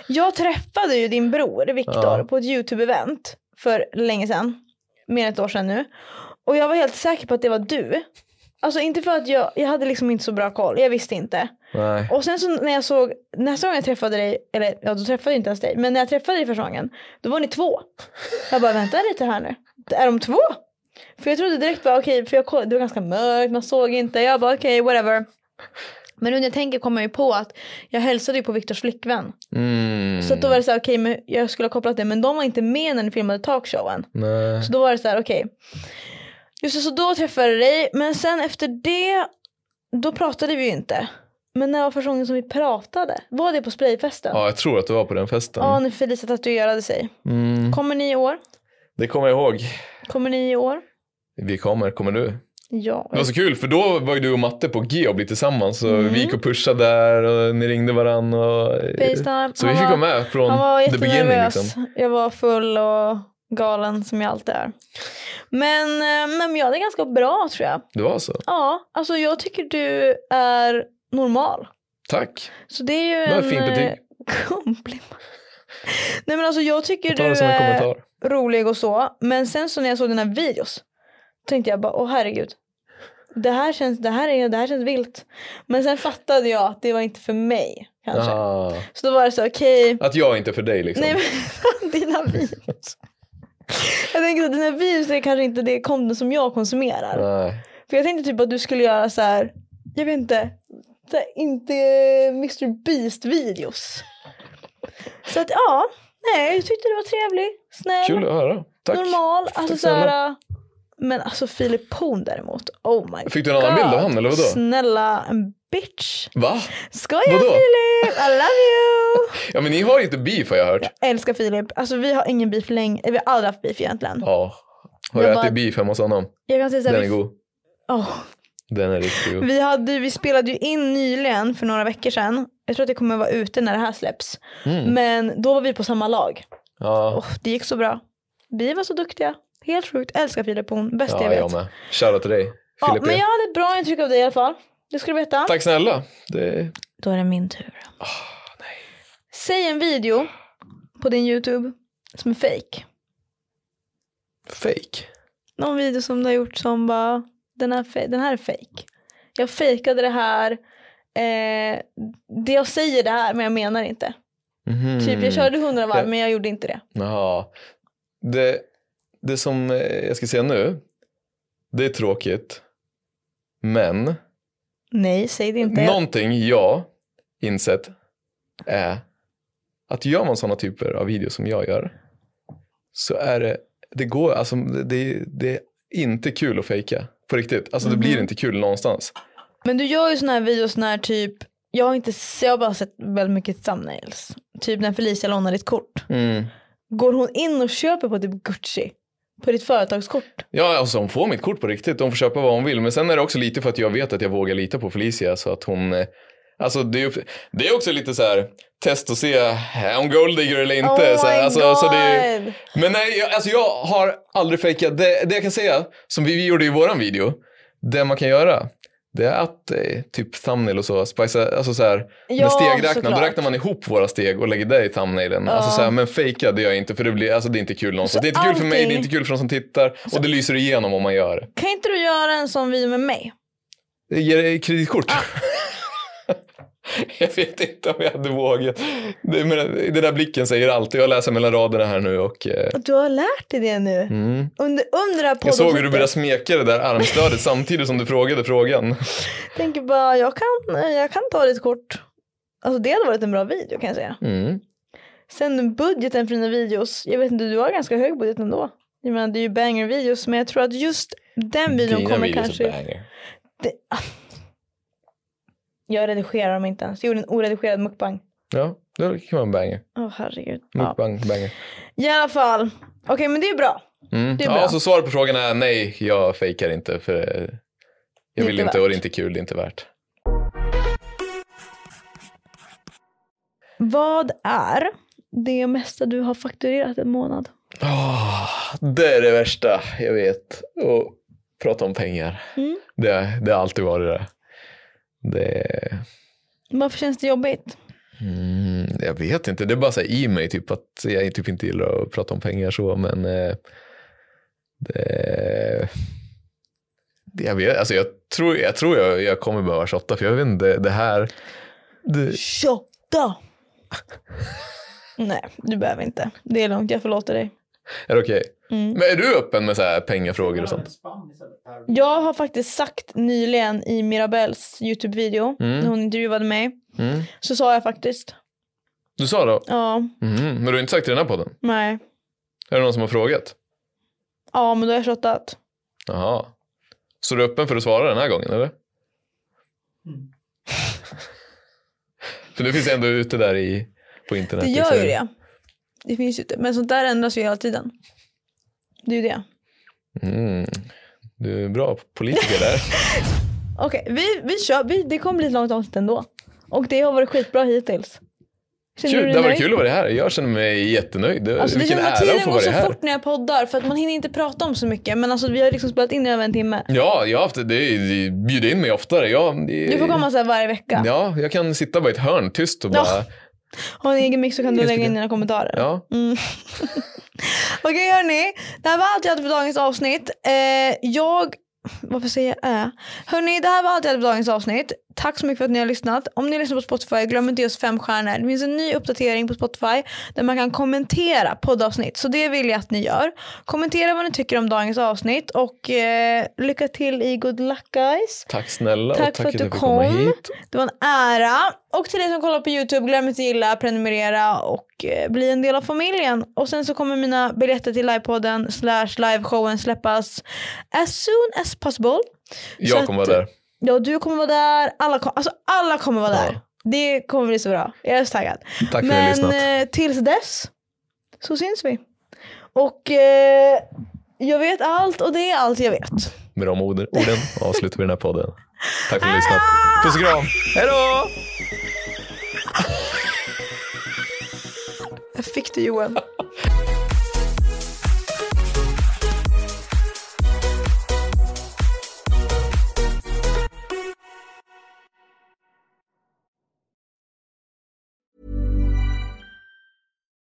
Jag träffade ju din bror Viktor Ja. på ett YouTube-event för länge sedan. Mer än ett år sedan nu. Och jag var helt säker på att det var du. Alltså inte för att jag, jag hade liksom inte så bra koll, jag visste inte. nej. Och sen så när jag såg, nästa gång jag träffade dig, eller ja då träffade jag inte ens dig, men när jag träffade dig första gången, då var ni två. Jag bara vänta lite här nu, är de två? För jag trodde direkt bara okej, för jag kollade, det var ganska mörkt, man såg inte, jag bara okej whatever. Men nu när jag tänker kommer jag ju på att jag hälsade ju på Viktors flickvän. Mm, Så att då var det så här okej, men jag skulle ha kopplat det, men de var inte med när ni filmade talkshowen. nej. Så då var det så här, okej. Just det, så då träffade jag dig. Men sen efter det, då pratade vi ju inte. Men när var första gången som vi pratade? Var det på sprayfesten? Ja, jag tror att du var på den festen. Ja, när Felicia tatuerade sig. Mm, Kommer ni i år? det kommer jag ihåg. Kommer ni i år? Vi kommer, kommer du? Ja. Det var så kul för då var ju du och Matte på G och blev tillsammans. Så Mm. Vi gick och pushade där och ni ringde varandra. Och, Facetime. så vi Han fick var- vara med från Han var the beginning. jättenervös. Liksom. Jag var full och galen som jag alltid är. Men, eh, men jag är ganska bra tror jag. Det var så. Ja, alltså jag tycker du är normal. Tack. Så det är ju Det var en ett fint betyg. eh, komplimang. Nej men alltså jag tycker Ta du det som en är kommentar. rolig och så. Men sen så när jag såg dina videos tänkte jag bara åh herregud. Det här känns, det här är, det här känns vilt. Men sen fattade jag att det var inte för mig kanske. Ah. Så då var det så okej. Att jag inte är för dig liksom. Nej men [LAUGHS] dina videos. Jag tänker att dina videos är kanske inte det content som jag konsumerar. Nej. För jag tänkte typ att du skulle göra så här, jag vet inte, så här, inte Mr Beast videos. Så att ja, nej jag tyckte du var trevlig, snäll, Kul att höra. Tack. normal. Alltså så snälla. här, men alltså Filip Poon däremot, oh my Fick du en annan bild av han, eller vadå? Snälla, en bitch. Va? Skojar Vadå? Filip, I love you. Ja men ni har inte beef har jag hört. Älskar Filip, alltså vi har ingen beef länge, vi har aldrig haft beef egentligen. Ja. Har Jag jag bara- ätit beef hemma hos honom? Jag kan säga så Den här, är vi, god. Åh. Den är riktigt god. Vi, hade, vi spelade ju in nyligen för några veckor sedan. Jag tror att det kommer vara ute när det här släpps. Mm. Men då var vi på samma lag. Ja, Åh, det gick så bra. Vi var så duktiga. Helt sjukt. Älskar Filip Horn. Bäst ja jag vet. jag med. Shoutout till dig. ja, Filip. men jag hade ett bra intryck av dig i alla fall. Det ska du veta. Tack Ah, snälla. Det... Då är det min tur. Säg en video på din YouTube som är fake. Fake. Någon video som du har gjort som bara den här, fe- den här är fake. Jag fejkade det här. Eh, det jag säger det här men jag menar inte. Mhm. Typ jag körde 100 varv Ja. men jag gjorde inte det. Ja. Det, det som eh, jag ska säga nu, det är tråkigt. Men Nej, säg det inte. någonting jag insett är att gör man sådana typer av videos som jag gör så är det, det går, alltså det, det är inte kul att fejka på riktigt. Alltså det Mm. blir inte kul någonstans. Men du gör ju såna här videos när typ, jag har, inte, se- jag har bara sett väldigt mycket thumbnails. Typ när Felicia lånar ditt kort. Mm. Går hon in och köper på typ Gucci? På ditt företagskort? Ja, alltså hon får mitt kort på riktigt. Hon får köpa vad hon vill. Men sen är det också lite för att jag vet att jag vågar lita på Felicia. Så att hon... eh, Alltså det är, ju- det är också lite så här test att se, är hon golddigger eller inte? så här, alltså, så det är, Oh god. men nej, jag, alltså jag har aldrig fejkat. Det, det jag kan säga, som vi gjorde i våran video, det man kan göra, det är att eh, typ thumbnail och så, spicea, alltså så här, Ja, med stegräknaren, såklart. då räknar man ihop våra steg och lägger det i thumbnailen. Alltså så här, men fejka det gör jag inte, för det, blir, alltså det är inte kul någonstans. Så Det är inte kul för mig, det allting- är inte kul för de som tittar och det lyser igenom om man gör det. Kan inte du göra en sån video med mig? det. Ger dig kreditkort? Ah. [LAUGHS] jag vet inte om jag hade vågat. Det, men, det där blicken säger allt och jag läser mellan raderna här nu och eh, Du har lärt dig det nu. Under, under det här Mm. Jag såg hur poddavsnittet. du började smeka det [LAUGHS] där armstödet samtidigt som du frågade frågan. Jag tänker bara, jag kan, jag kan ta ditt kort. Alltså det hade varit en bra video kan jag säga. Mm. Sen budgeten för dina videos, jag vet inte, du har ganska hög budget ändå. Jag menar, det är ju banger-videos, men jag tror att just den videon kommer kanske... banger. Det... Jag redigerar dem inte ens. Jag gjorde en oredigerad mukbang. Ja, det kan vara en banger. Åh herregud. Ja. Mukbang, banger. I alla fall. Okej, men det är bra. Mm. Det är bra. Ja, så svaret på frågan är nej, jag fejkar inte för eh, jag vill inte inte och värt. det är inte kul, det är inte värt. Vad är det mesta du har fakturerat en månad? Ah, det är det värsta jag vet. Och prata om pengar. Mm. Det, det har alltid varit det. det Varför känns det jobbigt? mm, jag vet inte, det är bara så här i mig typ att jag typ inte gillar att prata om pengar så, men eh, det, det jag vet, alltså jag tror jag, tror jag, jag kommer behöva shotta för jag vet inte, det här det, 28! Nej, du behöver inte. Det är lugnt, jag förlåter dig. är det okej? Mm. Men är du öppen med så här pengafrågor och sånt? Jag har faktiskt sagt nyligen i Mirabels YouTube-video, Mm. när hon intervjuade mig, Mm. så sa jag faktiskt, Du sa då? ja, Mm, men du har inte sagt i den här podden? nej, Är det någon som har frågat? ja men då har jag shottat. Jaha. Så du är öppen för att svara den här gången eller? Mm. [LAUGHS] för du finns ändå ute där i, på internet. Det gör ju liksom. det. Det finns ju inte, men sånt där ändras ju hela tiden. Det är ju det. Mm. Du är bra [LAUGHS] politiker där. Okej, vi, vi kör, vi, det kommer bli ett långt avsnitt ändå. Och det har varit skitbra hittills. Känner du Kul, dig det var nöjd? kul att vara här. Jag känner mig jättenöjd. Det- Alltså, det Vilken känns som att ära att tiden få går vara så här. fort när jag poddar för att man hinner inte prata om så mycket. Men alltså, vi har liksom spelat in i över en timme. Ja, jag har haft det. det- Bjud in mig oftare. Jag, Du får komma så här varje vecka. Eh. Ja, jag kan sitta på ett hörn tyst och Ja. bara... Har en egen mix så kan du Just lägga in det. dina kommentarer. Ja. [LAUGHS] Okej hörni, det här var allt jag hade för dagens avsnitt. Eh, jag, varför säger jag äh? Hörni, det här var allt jag hade för dagens avsnitt. Tack så mycket för att ni har lyssnat. Om ni lyssnar på Spotify, glöm inte att ge oss fem stjärnor. Det finns en ny uppdatering på Spotify där man kan kommentera poddavsnitt. Så det vill jag att ni gör. Kommentera vad ni tycker om dagens avsnitt och eh, lycka till i Good Luck Guys. Tack snälla Tack och för tack att du jag fick komma kom. hit. Det var en ära. Och till dig som kollar på YouTube, glöm inte att gilla, prenumerera och eh, bli en del av familjen. Och sen så kommer mina biljetter till livepodden slash liveshowen släppas as soon as possible. Så Jag kommer att- vara där. Ja, du kommer vara där. Alla, kom, alltså alla kommer vara där. Det kommer bli så bra. Jag är så taggad. Tack för att ni har Men lyssnat. eh, tills dess så syns vi. Och eh, jag vet allt och det är allt jag vet. Med de orden orden avslutar vi den här podden. Tack för att ni har lyssnat. Ah! Puss och kram. Hej då! Jag fick det Johan.